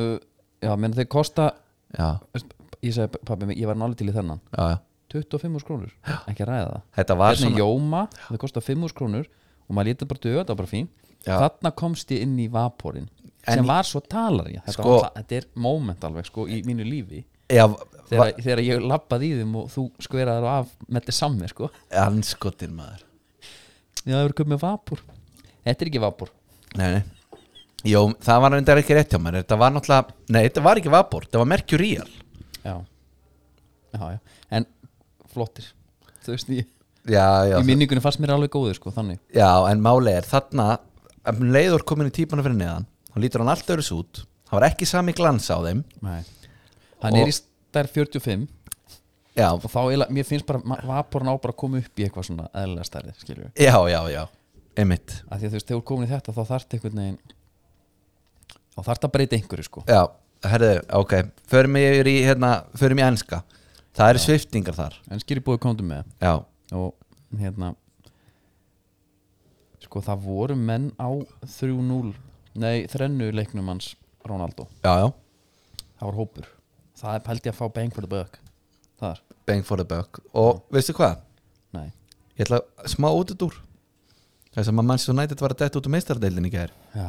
uh, Já, menn þeir kosta já, veist, Ég sagði pabbi, mig, ég var náli til í þennan já, já. 25 25 krónur, ekki að ræða það þetta var Hérna svona Jóma, það kosta 5 krónur og maður lítið bara döða, það var bara fín Já. Þarna komst ég inn í vaporinn En sem í- var svo talar ég þetta, Sko- var alltaf, þetta er moment alveg sko í mínu lífi já, va, þegar, þegar ég labbaði í þeim og þú skveraði og af með þetta samver sko anskotin maður Já, það eru komið með vapor Þetta er ekki vapor nei, nei Jó, það var reyndar ekki rétt hjá mér þetta var náttúrulega, nei, þetta var ekki vapor þetta var Mercurial Já, já, já En flottir Þú veist, ég, já, já, í minningunni fannst mér alveg góður sko Þannig já, en máli er þarna um leiður komin í típana fyrir neðan þá lítur hann allt öðru út það var ekki sami glans á þeim Nei. Hann Og- er í stær 45 já, og þá eiginlega- mér finnst bara ma- vaporinn á bara að koma upp í eitthvað svona eðlilega stærði skilju já, já, já, einmitt að því að þú veist, þegar þú komin í þetta þá þarft einhvern veginn þá þarft að breyta einhverju sko já, herðu, ok förum ég í, hérna, förum í enska það eru sviftingar þar en skýri búið komdu með já, það og hérna sko það voru menn á 3-0 nei, þrennu leiknum hans Ronaldo, já, já það var hópur það er pældi að fá bang for the buck þar, bang for the buck og veistu hvað, nei, ég ætla að smá út út úr þess að maður mann svo nættið var að detta út úr meistardeildin í gær já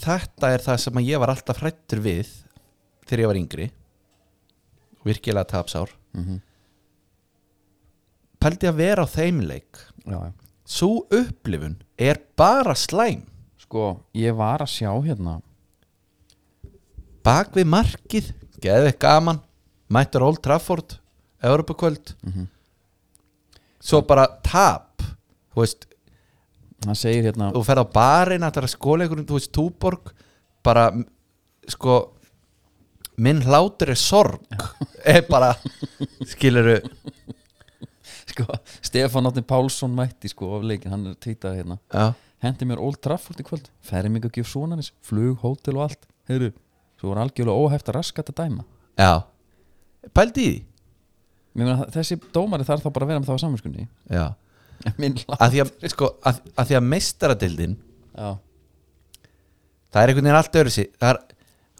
þetta er það sem að ég var alltaf hrættur við þegar ég var yngri virkilega tapsár mm pældi að vera á þeim leik já, já svo upplifun er bara slæm sko, ég var að sjá hérna bak við markið, geðið gaman mættur Old Trafford Europakvöld Mhm. svo bara tap þú veist, hann segir hérna þú ferð á barinn að það er að skóla einhverjum, þú veist, túborg bara, m- sko minn hlátur er sorg er bara, skiluru sko, Stefán Átni Pálsson mætti sko af leikin, hann tvítið hérna já, hendi mér Old Trafford í kvöld ferði mig að gefa svonanis, flug, hótel og allt heyrðu, svo voru algjörlega óhæft að raskat að dæma já pældi í því Mér meina, þessi dómari þarf þá bara að vera með það á samvinskunni já, minn lag að því að, sko, að, að því að meistaradildin já, það er einhvern veginn allt öðru sér það er,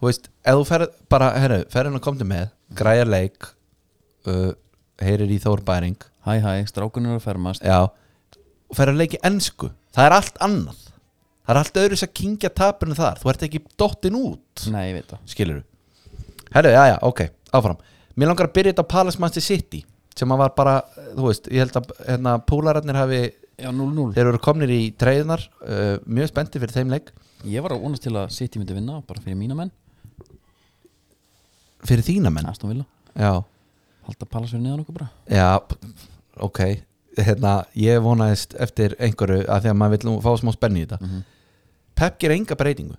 þú veist, ef þú ferð bara, herru, ferðin að komdu með, græjar leik uh, heyrir í Þór Bæring hæ hæ, strákunum er að fermast já, og ferð að leiki ensku það er allt annað það er allt öðru sér að kingja tapinu þar þú ert ekki dottin út, nei, ég veit það skilur herru, já, já, ok, áfram mér langar að byrja þetta á Palace Manchester City sem að var bara, eh, þú veist, ég held að hérna, púlararnir hafi, já, 0-0, þeir eru komnir í treyðunar uh, mjög spendi fyrir þeim leik ég var að vonast til að City myndi vinna bara fyrir mína menn, fyrir þína menn, Aston Villa já halda Palace fyrir neðan okkur bara Já, p- ok hérna, Ég vonaðist eftir einhverju að því að maður vill nú fá smá spenni í þetta Mhm. Pep ger enga breytingu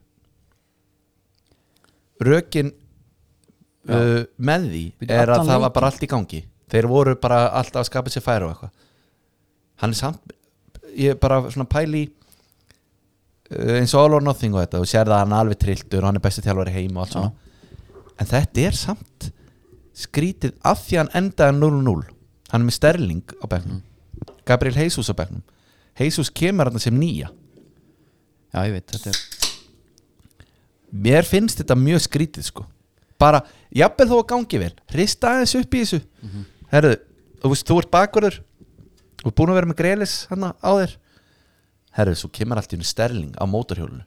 Rökin Já. uh, með því Bíddu, er að allan það var leikinn? bara allt í gangi Þeir voru bara alltaf að skapa sér færa og eitthvað Hann er samt ég er bara svona pæli uh, eins og all or nothing og þetta og sér það að hann er alveg trilltur og hann er besti þjálfari heim og allt svona en þetta er Mm. samt skrítið af því að hann endaði 0-0 hann er með sterling á bekknum Gabriel Jesus á bekknum Jesus kemur hann sem nýja Já, ég veit, þetta er mér finnst þetta mjög skrítið sko bara, jafnvel þó að gangi vel rista aðeins upp í þessu Mhm. herðu, þú veist, þú ert bakverður og ert búin að vera með greilis hann á þér herðu, svo kemur allt í henni sterling á mótorhjólinu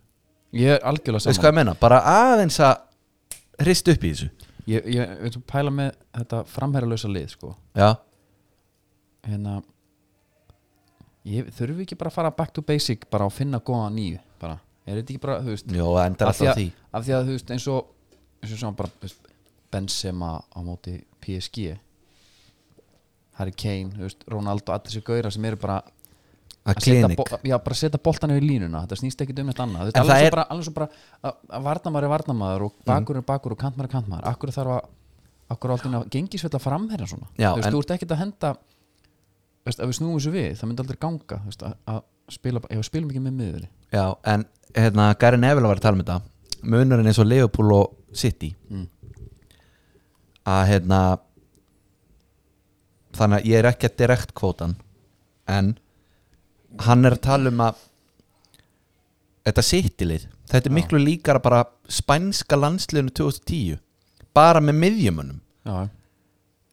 Ég er algjörlega veist saman hvað ég menna, bara aðeins að rista upp í þessu Ég, ég vil svo pæla með þetta framherralösa lið sko. já, hérna ég, þurfum við ekki bara að fara back to basic bara og finna góða nýju bara, er þetta ekki bara, þú veist Jó, það endar af því, alltaf á að, því af því að, þú veist, eins og eins og svona bara, þú veist, Benzema á móti PSG Harry Kane, þú veist, Ronaldo allir þessi gauðra sem eru bara að að setja klinik, bo- já, bara setja boltan yfir línuna þetta snýst ekki um eitt annað Þú veist, En það alveg, er- svo bara, alveg svo bara að- að varnamaður er varnamaður og bakur er bakur og kantmaður er kantmaður akkur þarf að, akkur er alltaf að gengisvella framherra svona, Já, þú veist, en- þú ert ekkert að henda þú veist, ef við snúum þessu við, það myndi aldrei ganga þú veist, að, að spila, bara- ef við spilum ekki með miður já, en hérna Gary Neville var að tala um þetta munurinn eins og Liverpool og City Mm. að hérna þannig að ég er ekki að direkt kvótan en hann er að tala um að þetta sittilið þetta er Já. miklu líkara bara spænska landsliðinu 2010 bara með miðjumunum já,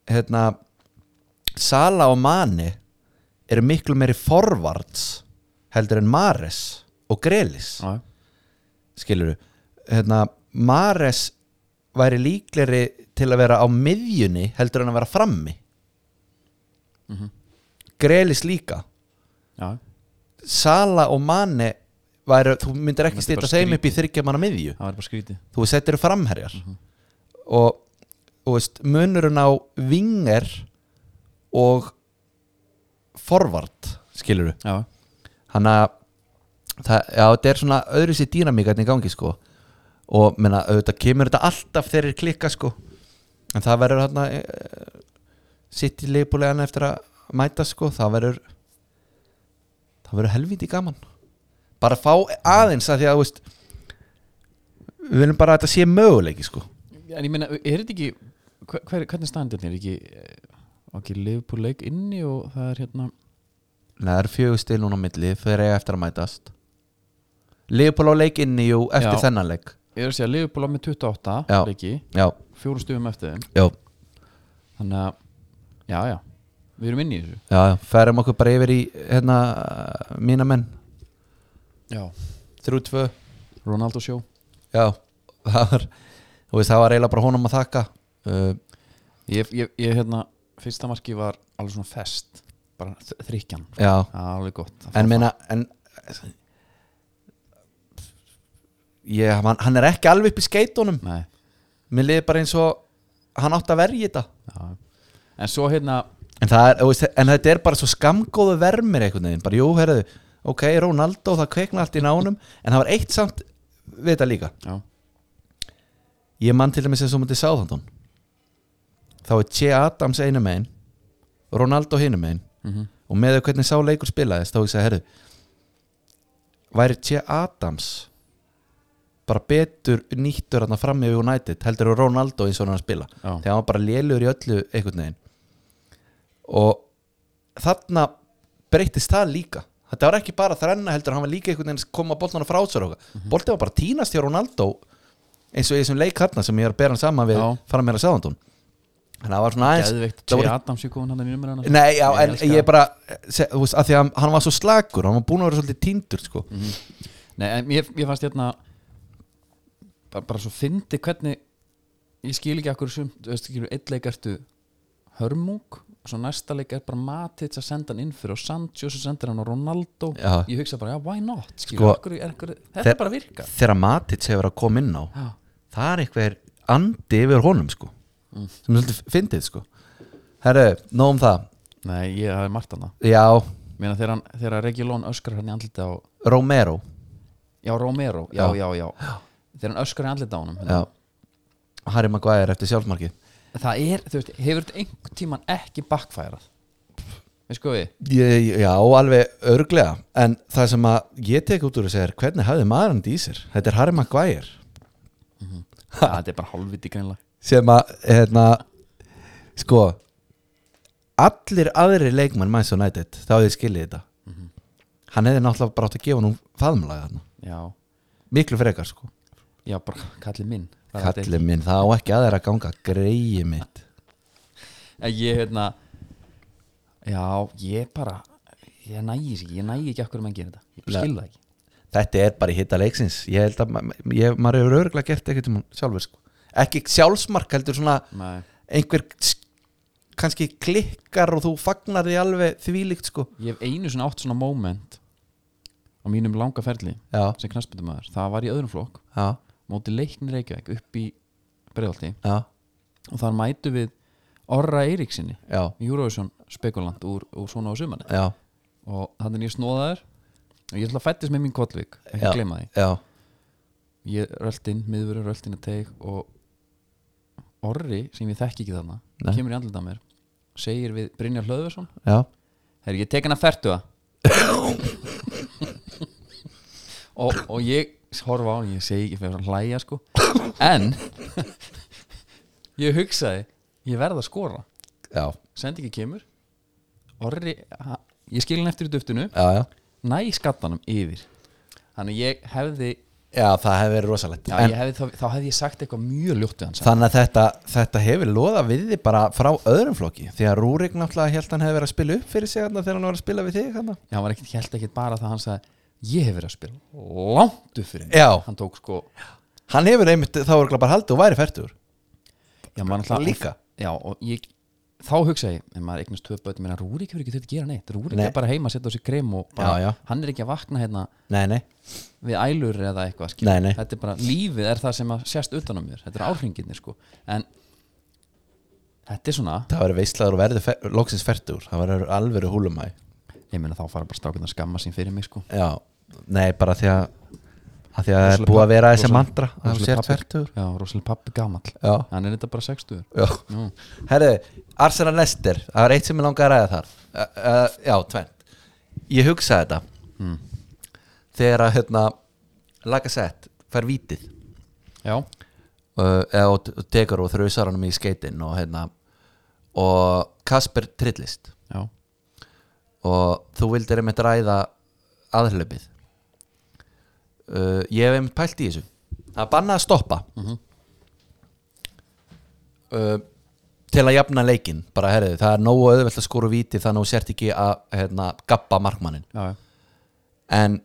hérna Sala og Mani eru miklu meiri forvarts heldur en Mares og Grelis já, skilur hérna Mares væri líkleri til að vera á miðjunni heldur en að vera frammi Grelis líka Mhm. já, Sala og Mani væri, þú myndir ekki Myndi bara stýta þeim skrítið. upp í þryggja manna það verður miðju bara skrítið þú veist, þetta eru framherjar og, og veist, munurinn á vinger og forvart skilur já, hann að það, já, þetta er svona öðru sér dýnamíkarni í gangi sko og menna, auðvitað kemur þetta alltaf þegar þeir klikka sko en það verður hann að sitt í leipulegana eftir að mæta sko það verður það verður helviti gaman bara fá aðeins að því að þú veist, við viljum bara að þetta sé möguleiki sko en ég meina, er þetta ekki hver, hver, hvernig standið er ekki eh, var ekki Liverpool leik inni og það er hérna Nei, það eru fjögur stil núna á milli þegar eiga eftir að mætast Leifupól á leik inni, jú, eftir Já. þennan leik ég er að segja Liverpool á með 28 Já. leiki, Já, fjóru stufum eftir þeim já, þannig að, já já við erum inn í þessu já, já, ferum okkur bara yfir í hérna, mína menn já. þrjú tvö, Ronaldo sjó já það var, þú veist, það var eiginlega bara honum að þakka uh, ég, ég, ég hérna, fyrsta marki var alveg svona fest, bara þ- þrykkjan Já, það er alveg gott að fá en meina en, ég, hann, hann er ekki alveg upp í skeitunum það. Nei, mér liði bara eins og hann átti að verja þetta já. en svo hérna En, það er, þú veist, en þetta er bara svo skamgóðu vermir einhvern veginn, bara jú, herðu ok, Ronaldo, það kveikna allt í nánum en það var eitt samt við þetta líka já, ég mann til dæmis eins og mútið sáðandun þá er Che Adams einu megin Ronaldo hinu megin mm og með þau hvernig sá leikur spilaðist þá ég segi, herðu væri Che Adams bara betur nýttur hann fram í United heldur en Ronaldo eins og hann er að spila já. þegar hann var bara lélur í öllu einhvern veginn og þarna breytist það líka þetta var ekki bara þrenna heldur hann var líka einhvern veginn að koma boltan frá sér okkar Mhm. mm boltin var bara tínast hjá Ronaldo eins og í þessum leik þarna sem ég er að bera hann saman við Já. fara meira sáðandun þannig að það var svona aðeins Geðveikt, það Jay voru- Adams ég komin hann í numera hana Nei, já, Ég en elska ég það. bara se, þú veist, að því að hann- hann var svo slagur hann var búin að vera svolítið tíndur sko. Nei, en ég, ég fannst hérna bara, bara svo fyndi hvernig ég skil ekki akkur sumt, þú veist ekki, einn leik ertu hörmung og svo næsta leik er bara Matic að senda hann inn fyrir og Sancho sem sendir hann og Ronaldo Já. ég hugsa bara, já, why not skilur, sko, Sko, akkur, er, akkur, þetta þeir- bara virkar þegar Matic hefur að koma inn á já, það er eitthvað andi yfir honum sko sem er svolítið fyndið sko herru, nóg um það nei, ég það er margt hana já, Meina, þegar, hann- þegar Regilón öskrar hann í andlita á Romero já, Romero, já, Já. já, já, þegar hann öskrar í andlita á honum já. Harry Maguire eftir sjálfmarkið það er, þú veist, hefur þetta einhvern tíman ekki bakfærað veist sko við ég, já, alveg örglega en það sem að ég tek út úr þessu er hvernig hafði maður hann í sér þetta er Harry Maguire Já, hérna, þetta er bara hálfviti greinlega sem að hérna, sko allir aðri leikmenn Manchester United, þá hefði skilið þetta hann hefði náttúrulega bara átt að gefa nú faðumlaga þarna, já, miklu frekar sko já, bara kallið minn Það er þetta Kalli minn, það á ekki aðeir að ganga greiði mitt Að ég hérna já, ég bara ég nægir ekki, ég nægir ekki okkur um að gera þetta ég bara Nei. skil það ekki Þetta er bara í hitta leiksins Ég held að ma ma- ég, maður hefur örgulega gert ekkert um hann sjálfur sko. Ekki sjálfsmark heldur svona Nei. einhver s- kannski klikkar og þú fagnar því alveg þvílíkt sko ég hef einu svona átt svona moment á mínum langa ferli Já, sem knastbyndumæður, það var í öðrum flokk já, móti leiknir Reykjavík upp í Breiðalti já, og þar mætu við Orra Eiríksinni já, Eurovision spekulant úr, úr svona á sumanni já, og hann er nýr snóðaður og ég ætla að fættist með mín kollvík ekki Já. að gleyma því já, ég rölt inn, miðvörur rölt inn að teik og orri sem ég þekki ekki þarna Nei. kemur í andlut að mér segir við Brynjar Hlöðversson já herri ég tek hann að fertu að og, og ég horfa á hann ég segi ekki fyrir að hlæja sko en ég hugsaði ég verð að skora Já, sendi ekki kemur orri ha, ég skil hann eftir í duftinu já, já næ skattanum yfir þannig ég hefði Já, það hefur verið rosalegt Já, ég En hefði, þá, þá hefði ég sagt eitthvað mjög ljótt við hans Þannig að þetta, þetta hefur loða við þið bara frá öðrum flokki Því að Rúrik náttúrulega held hann hefur verið að spila upp fyrir sig þarna þegar hann var að spila við þig þarna Já, hann var ekkert, held ekkert bara það hann sagði ég hef verið að spila langt upp fyrir mig Já, hann tók sko, hann hefur einmitt þá er bara haldið og væri færtur já, maður náttúrulega- Líka. já, og ég, þá hugsa ég en maður eignast tvö börn, menn að Rúrik hefur ekki þurft að gera neitt Rúrik Nei. er bara heima að setja á sig krem og bara, Já, já. hann er ekki að vakna hérna Nei, nei, við ælur eða eitthvað skilur. Nei, nei. þetta er bara, lífið er það sem að sérst utan á mér þetta er áhringinir sko, en þetta er svona, það verður veislaður og verður fer, loksins færtur Það verður alveg húlumæ ég meina þá fara bara strákinn að skamma sín fyrir mig sko Já, nei, bara því að að því að það er Rosaleg búið að vera papp- þessi rosaleg- mantra að þú rosaleg sért pappír. færtur já, rosalega pappi gamall, Já, hann er þetta bara 60 já Nú. Herðu, Arsenal Lester, það er eitt sem ég langaði að ræða þar uh, uh, Já, tvennt Ég hugsaði þetta þegar að hérna Lagasett fær vítið já, uh, eða, og, og tekur og þrausar hann í skeitin og hérna og Kasper trillist já, og þú vildir einmitt ræða aðhlaupið uh, ég hef einmitt pælt í þessu að banna að stoppa uh, til að jafna leikin bara herriðu, það er nógu auðvelt að skora víti þannig að þú sért ekki að hérna, gappa markmannin já, já. en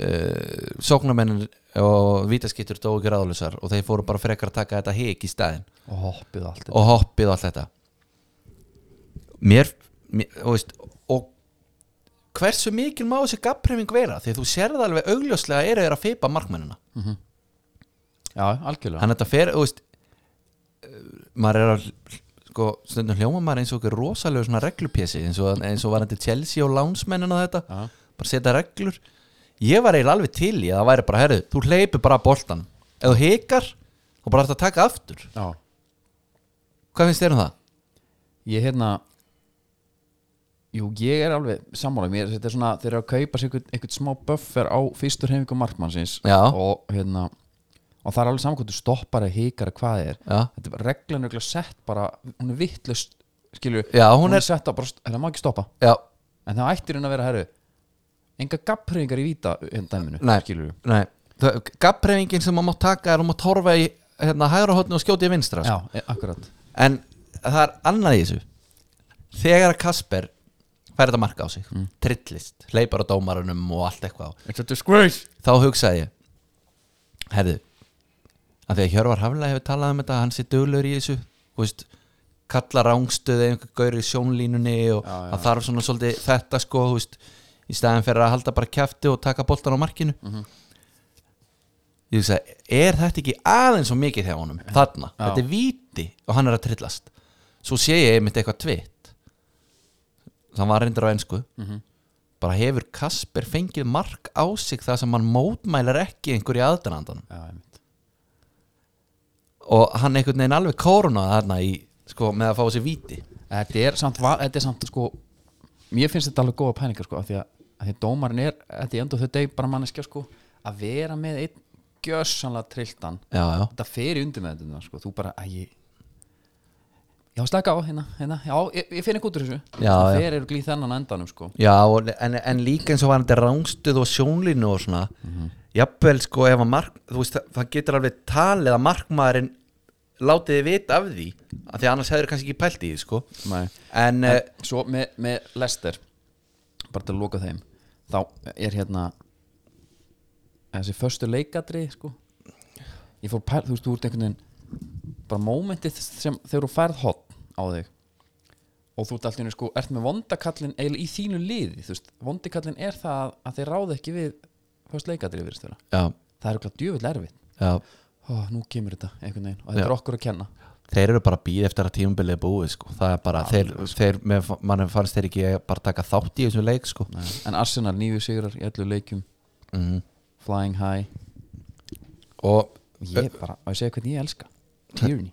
uh, sóknarmennin og vítaskittur dóu ekki ráðlösar og þeir fóru bara frekar að taka þetta hik í staðinn og hoppið allt og hoppið og allt þetta mér, mér og, veist, og hversu mikil má þessi gapprefing vera því að þú sérð alveg augljóslega eru þeir að feipa markmennina Mhm. Já, algjörlega hann þetta fer, þú veist eh, maður er að sko, stundum hljóma maður eins og okkur rosalegu svona reglupési eins og, eins og var þetta Chelsea og lánsmennina þetta Já. bara setja reglur ég var eiginlega alveg til í að það væri bara herrið, þú hleypir bara boltan ef þú hikar, þá bara þetta taka aftur Já, hvað finnst þér um það? ég hérna Jú, ég er alveg sammála mér, þetta er svona, þeir eru að kaupa sér einhvern, einhvern smá buffer á fyrstu hreyfingu markmannsins Já. og hérna og það er alveg samkvæmdu stoppar að hikar að hvað er Já. þetta er bara reglan er örugglega sett bara hún er vittlust, skilju Já, hún er- sett á bara, hérna má ekki stoppa Já, en það ættir hún að vera, herru enga gappreyingar í víta, hérna dæminu Nei. skilju, Nei, gapprefingin sem maður má taka er að maður torfa í hérna, hægra hotni og skjóti í vinstra sko. já, e- akkurat en það er annað í þessu þegar að Kasper fær þetta marka á sig, trillist hleypar á dómarunum og allt eitthvað It's a disgrace þá hugsaði ég herðu, að því að Hjörvar Hafla hefur talað um þetta, hann sé duglur í þessu þú veist, kalla rángstöð eða einhver gaur í sjónlínunni og Já, já. það þarf svona svolítið þetta sko þú veist, í staðan fyrir að halda bara kjafti og taka boltan á markinu Mhm. ég hugsaði, er þetta ekki aðeins og mikið hjá honum, þarna Já. þetta er víti og hann er að trillast svo sé ég einmitt eitthvað tvitt það var reyndur á ensku bara hefur Kasper fengið mark á sig það sem hann mótmælar ekki einhverju aðdanandanum já, einmitt. og hann einhvern veginn alveg kóruna þarna í, sko, með að fá sér víti þetta er samt, va- þetta er samt sko, mér finnst þetta alveg góða pælingar sko, af því að, að því að dómarin er þetta er endur þau deg bara manneskja sko, að vera með einn gjössanlega trilltan já, já, þetta fer í undir með þetta sko, þú bara að ég já, slaka á hérna, hérna. já, ég, ég finn ekki út úr þessu Já, það já. fer eru glýð þennan á endanum sko Já, og- en, en líka eins og var þetta rángstuð og sjónlínu og svona jafnvel sko ef að mark þú veist, það, það getur alveg talið að markmaðurinn látið þið vita af því af því að annars hefur kannski ekki pælt í því sko Nei. en, eh, en en, svo með, með Lester bara til að loka þeim þá er hérna þessi förstu leikadri sko. ég fór pæl, þú veist, þú ert einhvern veginn bara mómentið sem þegar þú færð hotn á þig og þú ert alltaf sko, ert með vondakallin eða í þínu liði, þú veist, vondakallin er það að, að þeir ráða ekki við först leikadri virðist vera, já, það er okkur djöfull erfitt já, Ó, nú kemur þetta einhvern veginn og þetta Já. er okkur að kenna þeir eru bara býð eftir að tímabilið er búið sko það er bara, þeir, þeir með, mann fannst þeir ekki bara taka þátt í þessum leik sko en Arsenal nýju sigrar í allu leikjum mm. flying high og ég Eh, bara, og ég segja hvernig ég elska Tierney,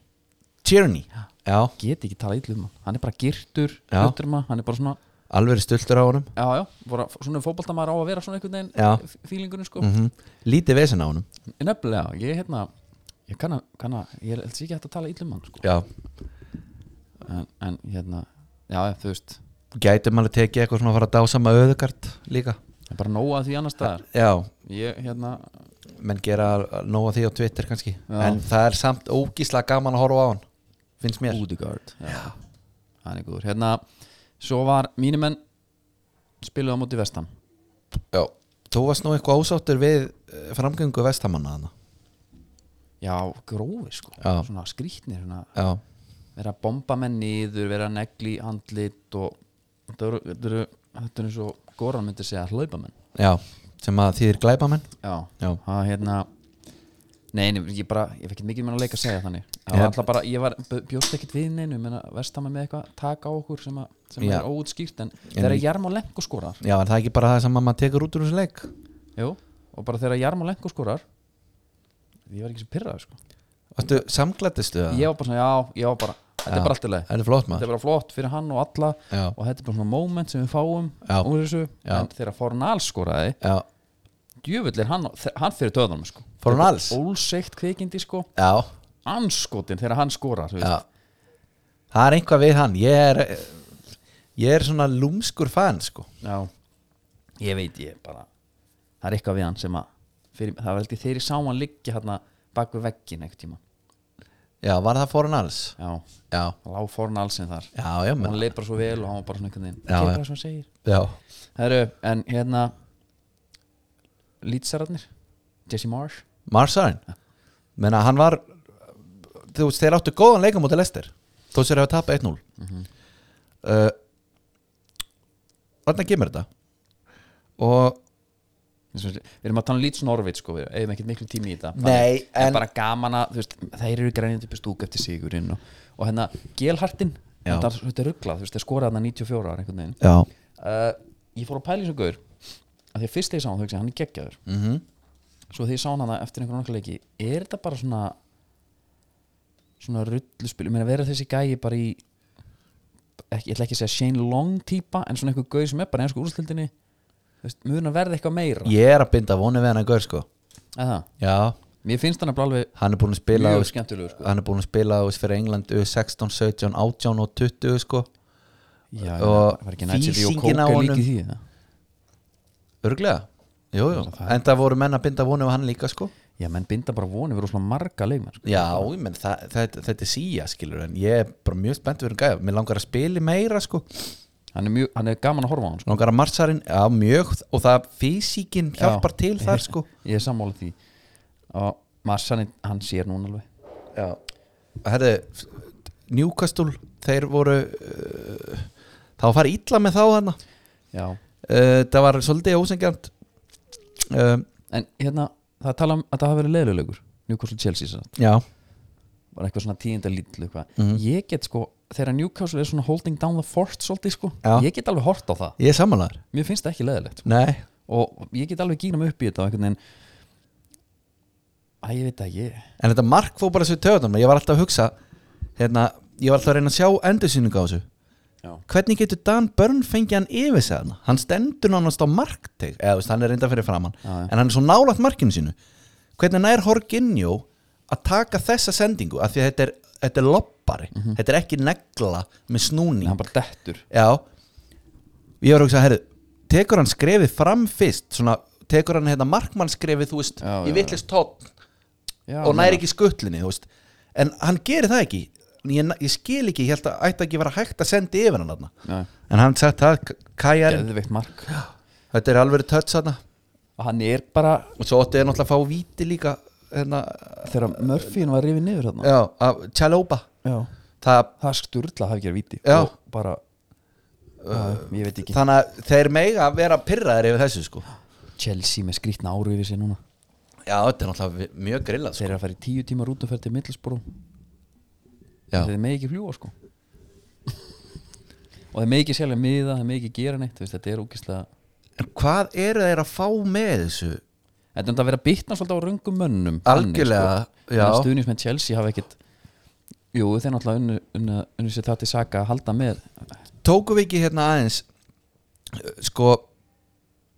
Tierney, já, get ekki tala ítlu um hann hann er bara girtur, Já. hlutur um hann hann er bara svona, alveg stultur á honum já já bara, svona fótboltamaður á að vera svona einhvern Já. veginn f- fílingurinn sko, mm lítið vesen á honum nefnilega ég hérna, ég kann að, kann að ég held sér ekki hægt að tala ítlu um hann sko já, en, en hérna, já já, þú veist gætum alveg tekið eitthvað svona að fara að dásama öðugart líka það er bara nóg að því annar staðar já, ég hérna, menn gera nóga því á Twitter kannski Já. en það er samt ógíslega gaman að horfa á hann finnst mér Údegard já. hann er góður, hérna svo var mínumenn spiluð á móti vestam já. þú varst nú eitthvað ásáttur við eh, framgöngu vestamanna hana já, grófi sko, Já. svona skrýtnir svona já, vera að bomba menn niður, vera að negli í andlit og þetta eru- þetta eru þetta eru eins og Goran myndi segja hlaupa menn já, sem að þýðir glæpamenn já, Já. það er hérna nei, nei, ég bara, ég fekk ekki mikið með að leika að segja þannig það Já. var alltaf bara, ég var, b- bjóst ekkit við neinu, menna verstama með eitthvað taka á okkur sem, að, sem Já. er óutskýrt en þegar Jarmo Lenko skorar já, en það er ekki bara það sem að maður tekur út úr þessu leik jú, og bara þegar Jarmo Lenko skorar ég var ekki sem pyrraður sko Varstu, samglættistu það? ég var bara svona, já, ég var bara, þetta Já. er bara allt í lagi Það er flott þetta maður er bara flott fyrir hann og alla Já. og þetta er bara svona moment sem við fáum Já. úr þessu, Já. en þegar Fornal skoraði já, djöfull er hann, hann fyrir töðanum sko. Fornals? ólseikt kvikindi sko já, anskotin þegar hann skorar þú veist. já það er einhvað við hann ég er, ég er svona lúmskur fan sko já, ég veit ég bara það er eitthvað við hann sem að fyrir, það var held ég þegar ég sá hann liggja hérna bak við veggin einhvern tíma já, var það Fornals? já, já, lág Fornalsinn þar já, já, og hann menn leið bara svo vel og hann var bara svona einhvern veginn Já, gerir já. það sem hann segir já, Heru, en hérna lýtsararnir Jesse Marsh Marsarinn menna hann var þú veist þeir áttu góðan leika mútið lestir þó sér hefur tapað 1-0 mm Mhm. -hmm. uh, þarna kemur þetta og Eins og- við erum að tala um Leeds Norvits sko, við eigum ekkert miklu tími í þetta Nei, en, en- bara gaman að, þú veist, þeir eru grænjandi upp í stúk eftir sigurinn og, og hérna Gelhartin, Já. þetta þetta er rugglað þú veist, þeir skoraði hann 94 ára einhvern veginn já, uh, ég fór að pæla í þessu gaur að því að fyrst þegar ég sá hann, þú veist, hann er geggjaður mm svo þegar ég sá hann þarna eftir einhvern annan leiki er þetta bara svona svona rulluspil, ég meina vera þessi gæi bara í ekki, ég ætla ekki að segja Shane Long típa en svona einhver gauð sem er bara í ensku úrslildinni muna verða eitthvað meira ég er að binda vonu við hann að gaur sko yeah. það já, Mér finnst hann að bara alveg hann er búin að spila mjög þú veist, skemmtilegur sko. hann er búin að spila þú veist, fyrir England U 16, 17, 18 og 20 sko, Já, og var ekki nættir því og fýsingin á kóka líki honum. því eða? örglega jú, jú. en það voru menn að binda vonu við hann líka sko Já, menn binda bara vonið við rosalega marga leikmenn sko. Já, ég menn, það, þetta, þetta er síja skilur en ég er bara mjög spennt við um gæða mér langar að spili meira sko mér hann, er mjög, hann er gaman að horfa á hann sko. langar að marsarinn, já mjög og það fysíkin hjálpar Já. til þar sko Ég er sammála því og Marsan, hann sér núna alveg Já Herðu, Newcastle þeir voru uh, þá fara illa með þá þarna uh, Já, Eh, það var svolítið ósengjant uh, en hérna það er tala um að það hafa verið leiðilegur Newcastle Chelsea sann. Já, var eitthvað svona tíðinda lítlu eitthvað Mhm. Ég get sko, þegar Newcastle er svona holding down the fort svolítið sko, Já. ég get alveg hort á það ég er samanlegar Mér finnst það ekki leiðilegt Nei, og ég get alveg gínum upp í þetta og einhvern veginn Æ, ég veit að ég en þetta mark fór bara svo töðan ég var alltaf að hugsa hérna, ég var alltaf að reyna að sjá endursýningu á þessu Já. hvernig getur Dan Börn fengið hann yfir sig hann hann stendur nánast á markteg eða þú veist, hann er reynda fyrir framann Já, já. en hann er svo nálægt markinu sínu hvernig nær Horginjó að taka þessa sendingu af því að þetta er, þetta er lob, hoppari þetta er ekki negla með snúning Mhm. hann bara dettur já ég var að hugsa, herri, tekur hann skrefið fram fyrst svona, tekur hann hérna markmannskrefið þú veist, Já, í já, vittlist tótt Já, og meina- næri ekki skuttlinni þú veist. en hann gerir það ekki ég, ég skil ekki, ég held að ætti ekki að vera hægt að senda yfir hann þarna Nei. en hann sagt það, Kajar geðveikt mark þetta er alveg touch þarna og hann er bara og svo átti ég náttúrulega að fá víti líka hérna, þegar Murphyin var rifið niður þarna já, af Chalóba já. það það er sturla að hafa ekki verið víti Já. og bara uh, ég veit ekki Þannig að þeir mega vera pyrraðir yfir þessu sko Chelsea með skrýtna áru yfir sér núna Já, þetta er náttúrulega vi- mjög grillað sko þeir eru að fara í tíu tíma rútuferð til Middlesbrough Já. þeir megi ekki fljúa sko og þeir megi ekki selja miða þeir megi ekki gera neitt þú veist, þetta er ógislega En hvað eru þeir að fá með þessu? þetta er um að vera bitna svolítið á röngum mönnum sko. Algjörlega, já. stuðnins með Chelsea hafa ekkit jú þeir náttúrulega unnu, unnu, unnu sér það til saka að halda með Tókum við ekki hérna aðeins uh, Sko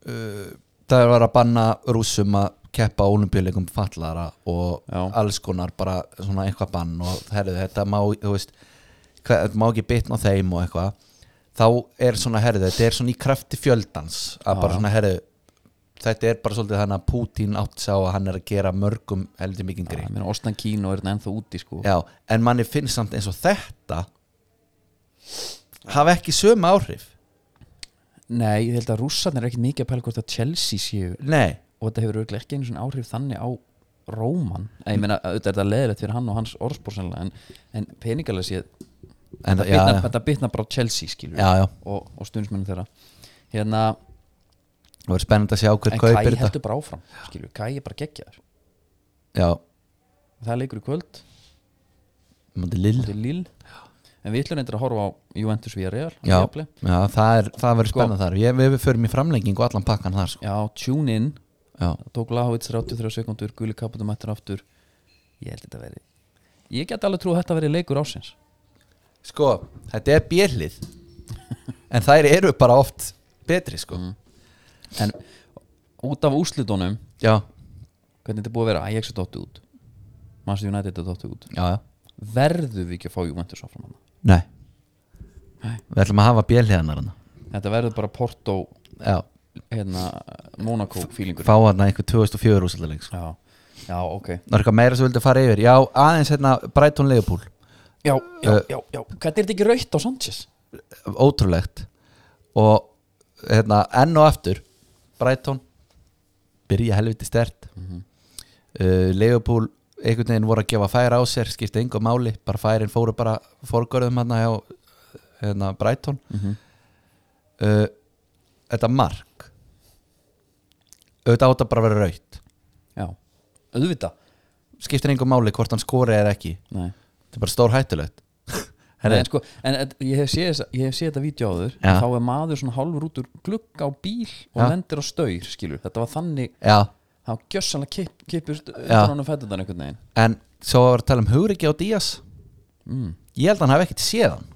uh, Það var að banna rússum að keppa á olimpíuleikum fallara og Já. alls konar bara svona eitthvað bann og herðu þetta má, þú veist hvað, þetta má ekki bitna á þeim og eitthvað þá er svona herðu, þetta er svona í krafti fjöldans að Já, já. bara svona herðu þetta er bara svolítið þannig að Putin átt sá að hann er að gera mörgum heldur mikið greið Ég meina, Ostan Kíno er þetta ennþá úti sko Já, en manni finnst samt eins og þetta hafa ekki sömu áhrif nei ég held að rússarnir er ekkit mikið að pæla hvort að Chelsea séu Nei, og þetta hefur auðvitað ekki einu svona áhrif þannig á Róman, Eða, ég meina auðvitað er þetta leðilegt fyrir hann og hans orðspór sennilega en, en peningalega séð en, þetta já, bitnar- já, þetta bitnar bara á Chelsea skilur já, já, og, og stundismennum þeirra hérna, það verður spennandi að sjá hver en Kai kaupir þetta heldur bara áfram skilur, Kai er bara geggjaður Já, það er leikur í kvöld, múti lill þetta er Lill en við ætlum reyndir að horfa á Juventus via Real á Já, jafnvel. já það, er, það verður Sko. spennandi þar Ég, Við förum í framlengingu allan pakkan þar sko. já, tune in, Já, það tók Lahovits 33 sekundur, Gulli Kaputum eftir aftur ég held þetta veri ég get alveg trú að þetta veri leikur ásins sko, þetta er björlið En þær eru bara oft betri sko Mm. en út af úslitunum Já, hvernig þetta er búið að vera Ajax er dottu út Manchester United er dottu út já, já verðum við ekki að fá Juventus áfram hann Nei, Nei. við ætlum að hafa björliðanar hana þetta verður bara Porto Já, hérna, Monaco fílingur fá hana einhver 2004 úsildaleik sko. já. já, ok Það er eitthvað meira sem vildi fara yfir Já, aðeins hérna Brighton Leopold já, já, Eh. já, já, hvernig er þetta ekki rautt á Sanchez Ótrúlegt Og hérna, enn og aftur Brighton Byrja helviti stert mm Mhm, Leopold einhvern veginn voru að gefa færi á sér Skipti engu máli, bara færin fóru bara Forgörðum hérna hjá hérna, Brighton mhm. uh, Þetta mark Auðvitað átt að bara vera raut já, auðvitað Skiptir engu máli hvort hann skori eða ekki Nei. Þetta er bara stór hættulegt Nei, en, sko, en et- ég hef séð, þessa- ég hef séð þetta vídeo áður Já. þá er maður svona hálfur út úr glugga á bíl og Já. lendir á staur skilur, þetta var þannig Já, það var gjössanlega kip, kipust Já. undan honum fættuðan einhvern veginn en svo var að tala um Huguriki á Díaz mm. ég held að hann hafi ekkert séð hann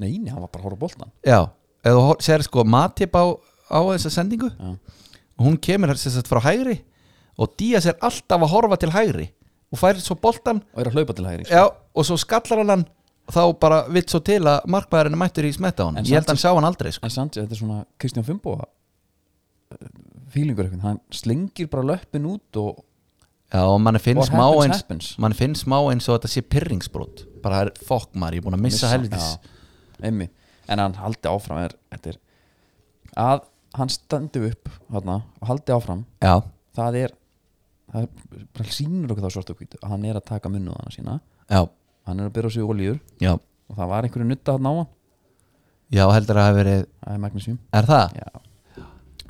nei, nei, hann var bara að horfa á boltan já, ef þú hor- sér sko Matip á, á þessa sendingu Já. og hún kemur sem sagt frá hægri og Díaz er alltaf að horfa til hægri og fær svo boltan og er að hlaupa til hægri sko. já, og svo skallar hann hann og þá bara vill svo til að markmaðurinn er mættur í smetta á hann En ég held að hann sá hann aldrei sko. en Sanchez, þetta er svona Kristján eh, Fimboa fílingur eitthvað, hann slengir bara löppin út og já, og mann What finnst smá happens, eins happens. mann finnst smá eins og þetta sé pyrringsbrot bara er fokk maður, ég er búin að missa, missa helvitis Já, einmitt. en hann haldi áfram er, þetta er, að hann standi upp hana, og haldi áfram já, það er, það er bara sýnur okkur þá svart og hvítu að hann er að taka munnuðana sína já, hann er að byrja á sig olíur já, og það var einhverju nutta hann á hann já heldur að það hafi verið það er magnesium er það? Já.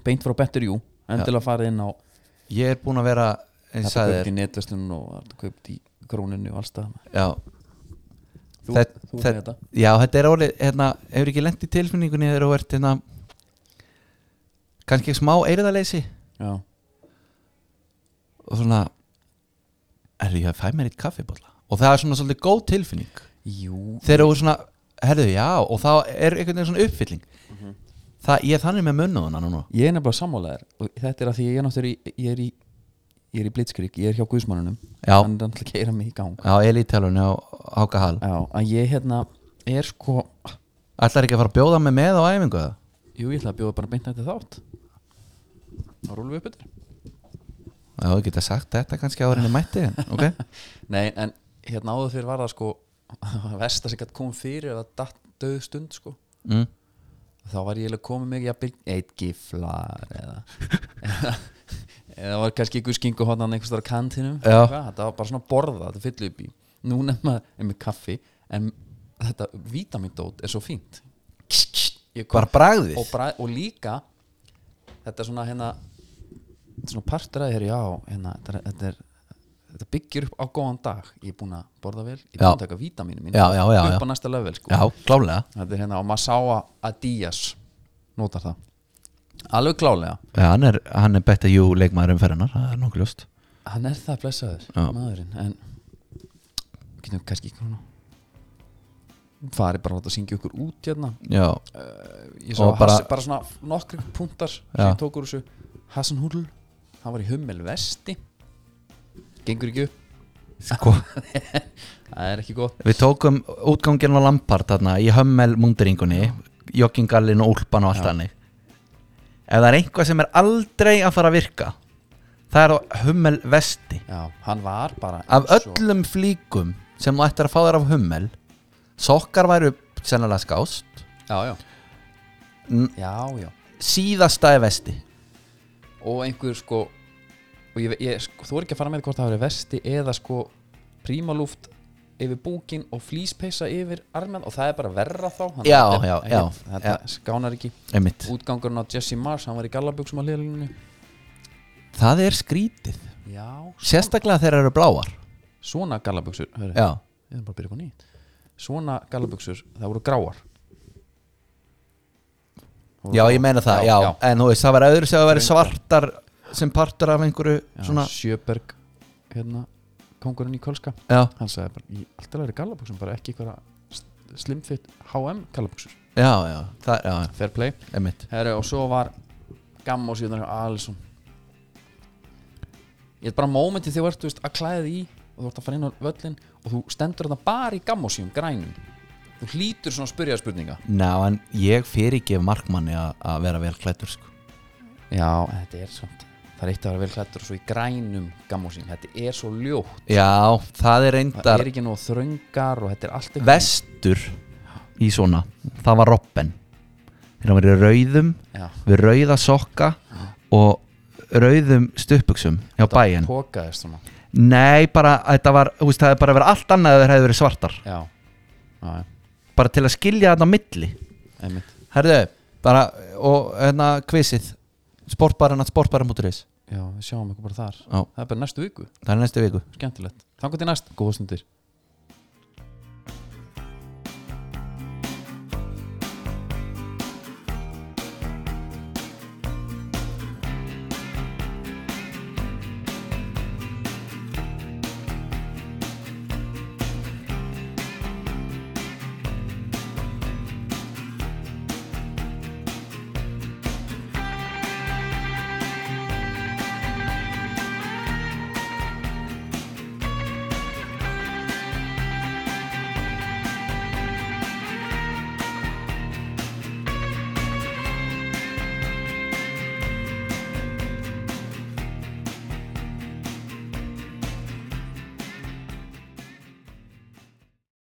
beint frá betur jú endilega farið inn á Ég er búinn að vera eins þetta og sagði kaupt þér í netverslunum og þetta kaupt í króninu og allstað Já, þú, Þett- þú með þett- þetta já, þetta er orðið hérna, hefur ekki lent í tilfinningunni þegar þú ert hérna, kannski smá eyrðaleysi já, og svona er ég að fæ mér eitt kaffibólla og það er svona svolítið góð tilfinning jú, þegar þú svona, herðu, já og þá er einhvern veginn svona uppfylling það, ég er þannig með munnaðuna núna ég er nefnilega sammálaðir og þetta er að því ég er náttúrulega í, ég er í ég er í Blitzkrig, ég er hjá Guðsmannunum Já. hann er alltaf að keira mig í gang Já, elítalun á Háka Hall Já, að ég hérna er sko Ætlar ekki að fara að bjóða mig með á æfingu það? Jú, ég ætla að bjóða bara beint nætti þátt Þá rúlum við upp yfir Já, ég geta sagt þetta kannski áður en ég mætti en, ok? Nei, en hérna áður fyrir var það sko Vesta sem gætt kom fyrir eða datt döð stund sko Mm. Þá var ég eiginlega komið mig jafnvel Eitt giflar eða eða- Eða var kannski ykkur skingu hóðan einhvers þar á kantinum Já. Eitthvað, Þetta var bara svona borða, þetta fyllu upp í Núna er maður er með kaffi En þetta vítamindót er svo fínt Ég kom- Bara bragðið og, bræ, og líka þetta er svona hérna þetta er svona partur að þér, já hérna, þetta, er- þetta, er, þetta byggir upp á góðan dag ég er búinn að borða vel, ég er búinn Já. að taka vítaminu mín Já, já, já, já. upp á næsta level sko. Já, klálega þetta er hérna og maður sá að Adidas notar það alveg klálega, Já, hann er, hann er betur jú leikmaður umferðinar Það er nokkuð ljóst hann er það blessaður Já. maðurinn, en getum við kannski ekki hún farið bara að láta syngja ykkur út hérna Já, ég sá Og bara, bara- Hassi, bara svona nokkri punktar sem Já. ég tók úr þessu Hassan Hull, hann var í Hummel Vesti gengur ekki upp sko það er ekki gott Við tókum útgangin á Lampard þarna í hömmel múndringunni joggingallin og úlpan og allt hannig Ef það er einhvað sem er aldrei að fara að virka það er á hömmel vesti já, hann var bara Af eins og- öllum flíkum sem þú ættir að fá þér af hömmel sokkar væru sennilega skást já, já. Mm. já, já síðasta er vesti og einhver sko og ég, ég sko, þú er ekki að fara með hvort það hafi verið Vesti eða sko prímalúft yfir búkin og flýspeysa yfir armenn og það er bara verra þá þannig að Já, þetta er- já, ekki- já, þetta skánar ekki Einmitt. útgangurinn á Jesse Mars, hann var í gallabuxum á liðalínu Það er skrítið já, Sérstaklega þegar þeir eru bláar svona gallabuxur hörru, Já, við erum bara að byrja upp á nýtt svona gallabuxur, það voru gráar Það voru já gráar. ég meina það já, En þú veist, það var öðru sem að vera svartar sem partur af einhverju Já, svona Sjöberg hérna, kongurinn í Kolska Já, hann sagði bara, ég alltaf læri gallabuxum bara ekki eitthvað slimfit HM gallabuxur, já, já, það, já, já. fair play Einmitt. Heru, og svo var gamma og síðan Alisson ég er bara mómenti þegar þú ert þú veist, að klæða þig í og þú ert að fara inn á völlin og þú stendur þetta bara í gamma og síðan grænum þú hlýtur svona að spyrja spurninga Ná, en ég fyrirgef markmanni a- að vera vel klættur sko. Já, en þetta er samt Það er eitt að vera vel klættur og svo í grænum gammúsin Þetta er svo ljótt Já, það er Það reyndar er ekki nóg þröngar og þetta er allt eitthvað vestur í svona það var Robben þegar hann var í rauðum Já, við rauða sokka og rauðum stupuksum hjá bæinn Pókaðist svona Nei, bara, þetta var, þú veist, það hefði bara verið allt annað ef þeir hefði verið svartar Já, já, já, bara til að skilja þetta á milli einmitt Herðu, bara, og hérna kvissið, sportbarinn að sportbarinn.is Já, við sjáum eitthvað bara þar Já. Það er bara næstu viku, það er næstu viku skemmtilegt Þannig til næst, góða stundir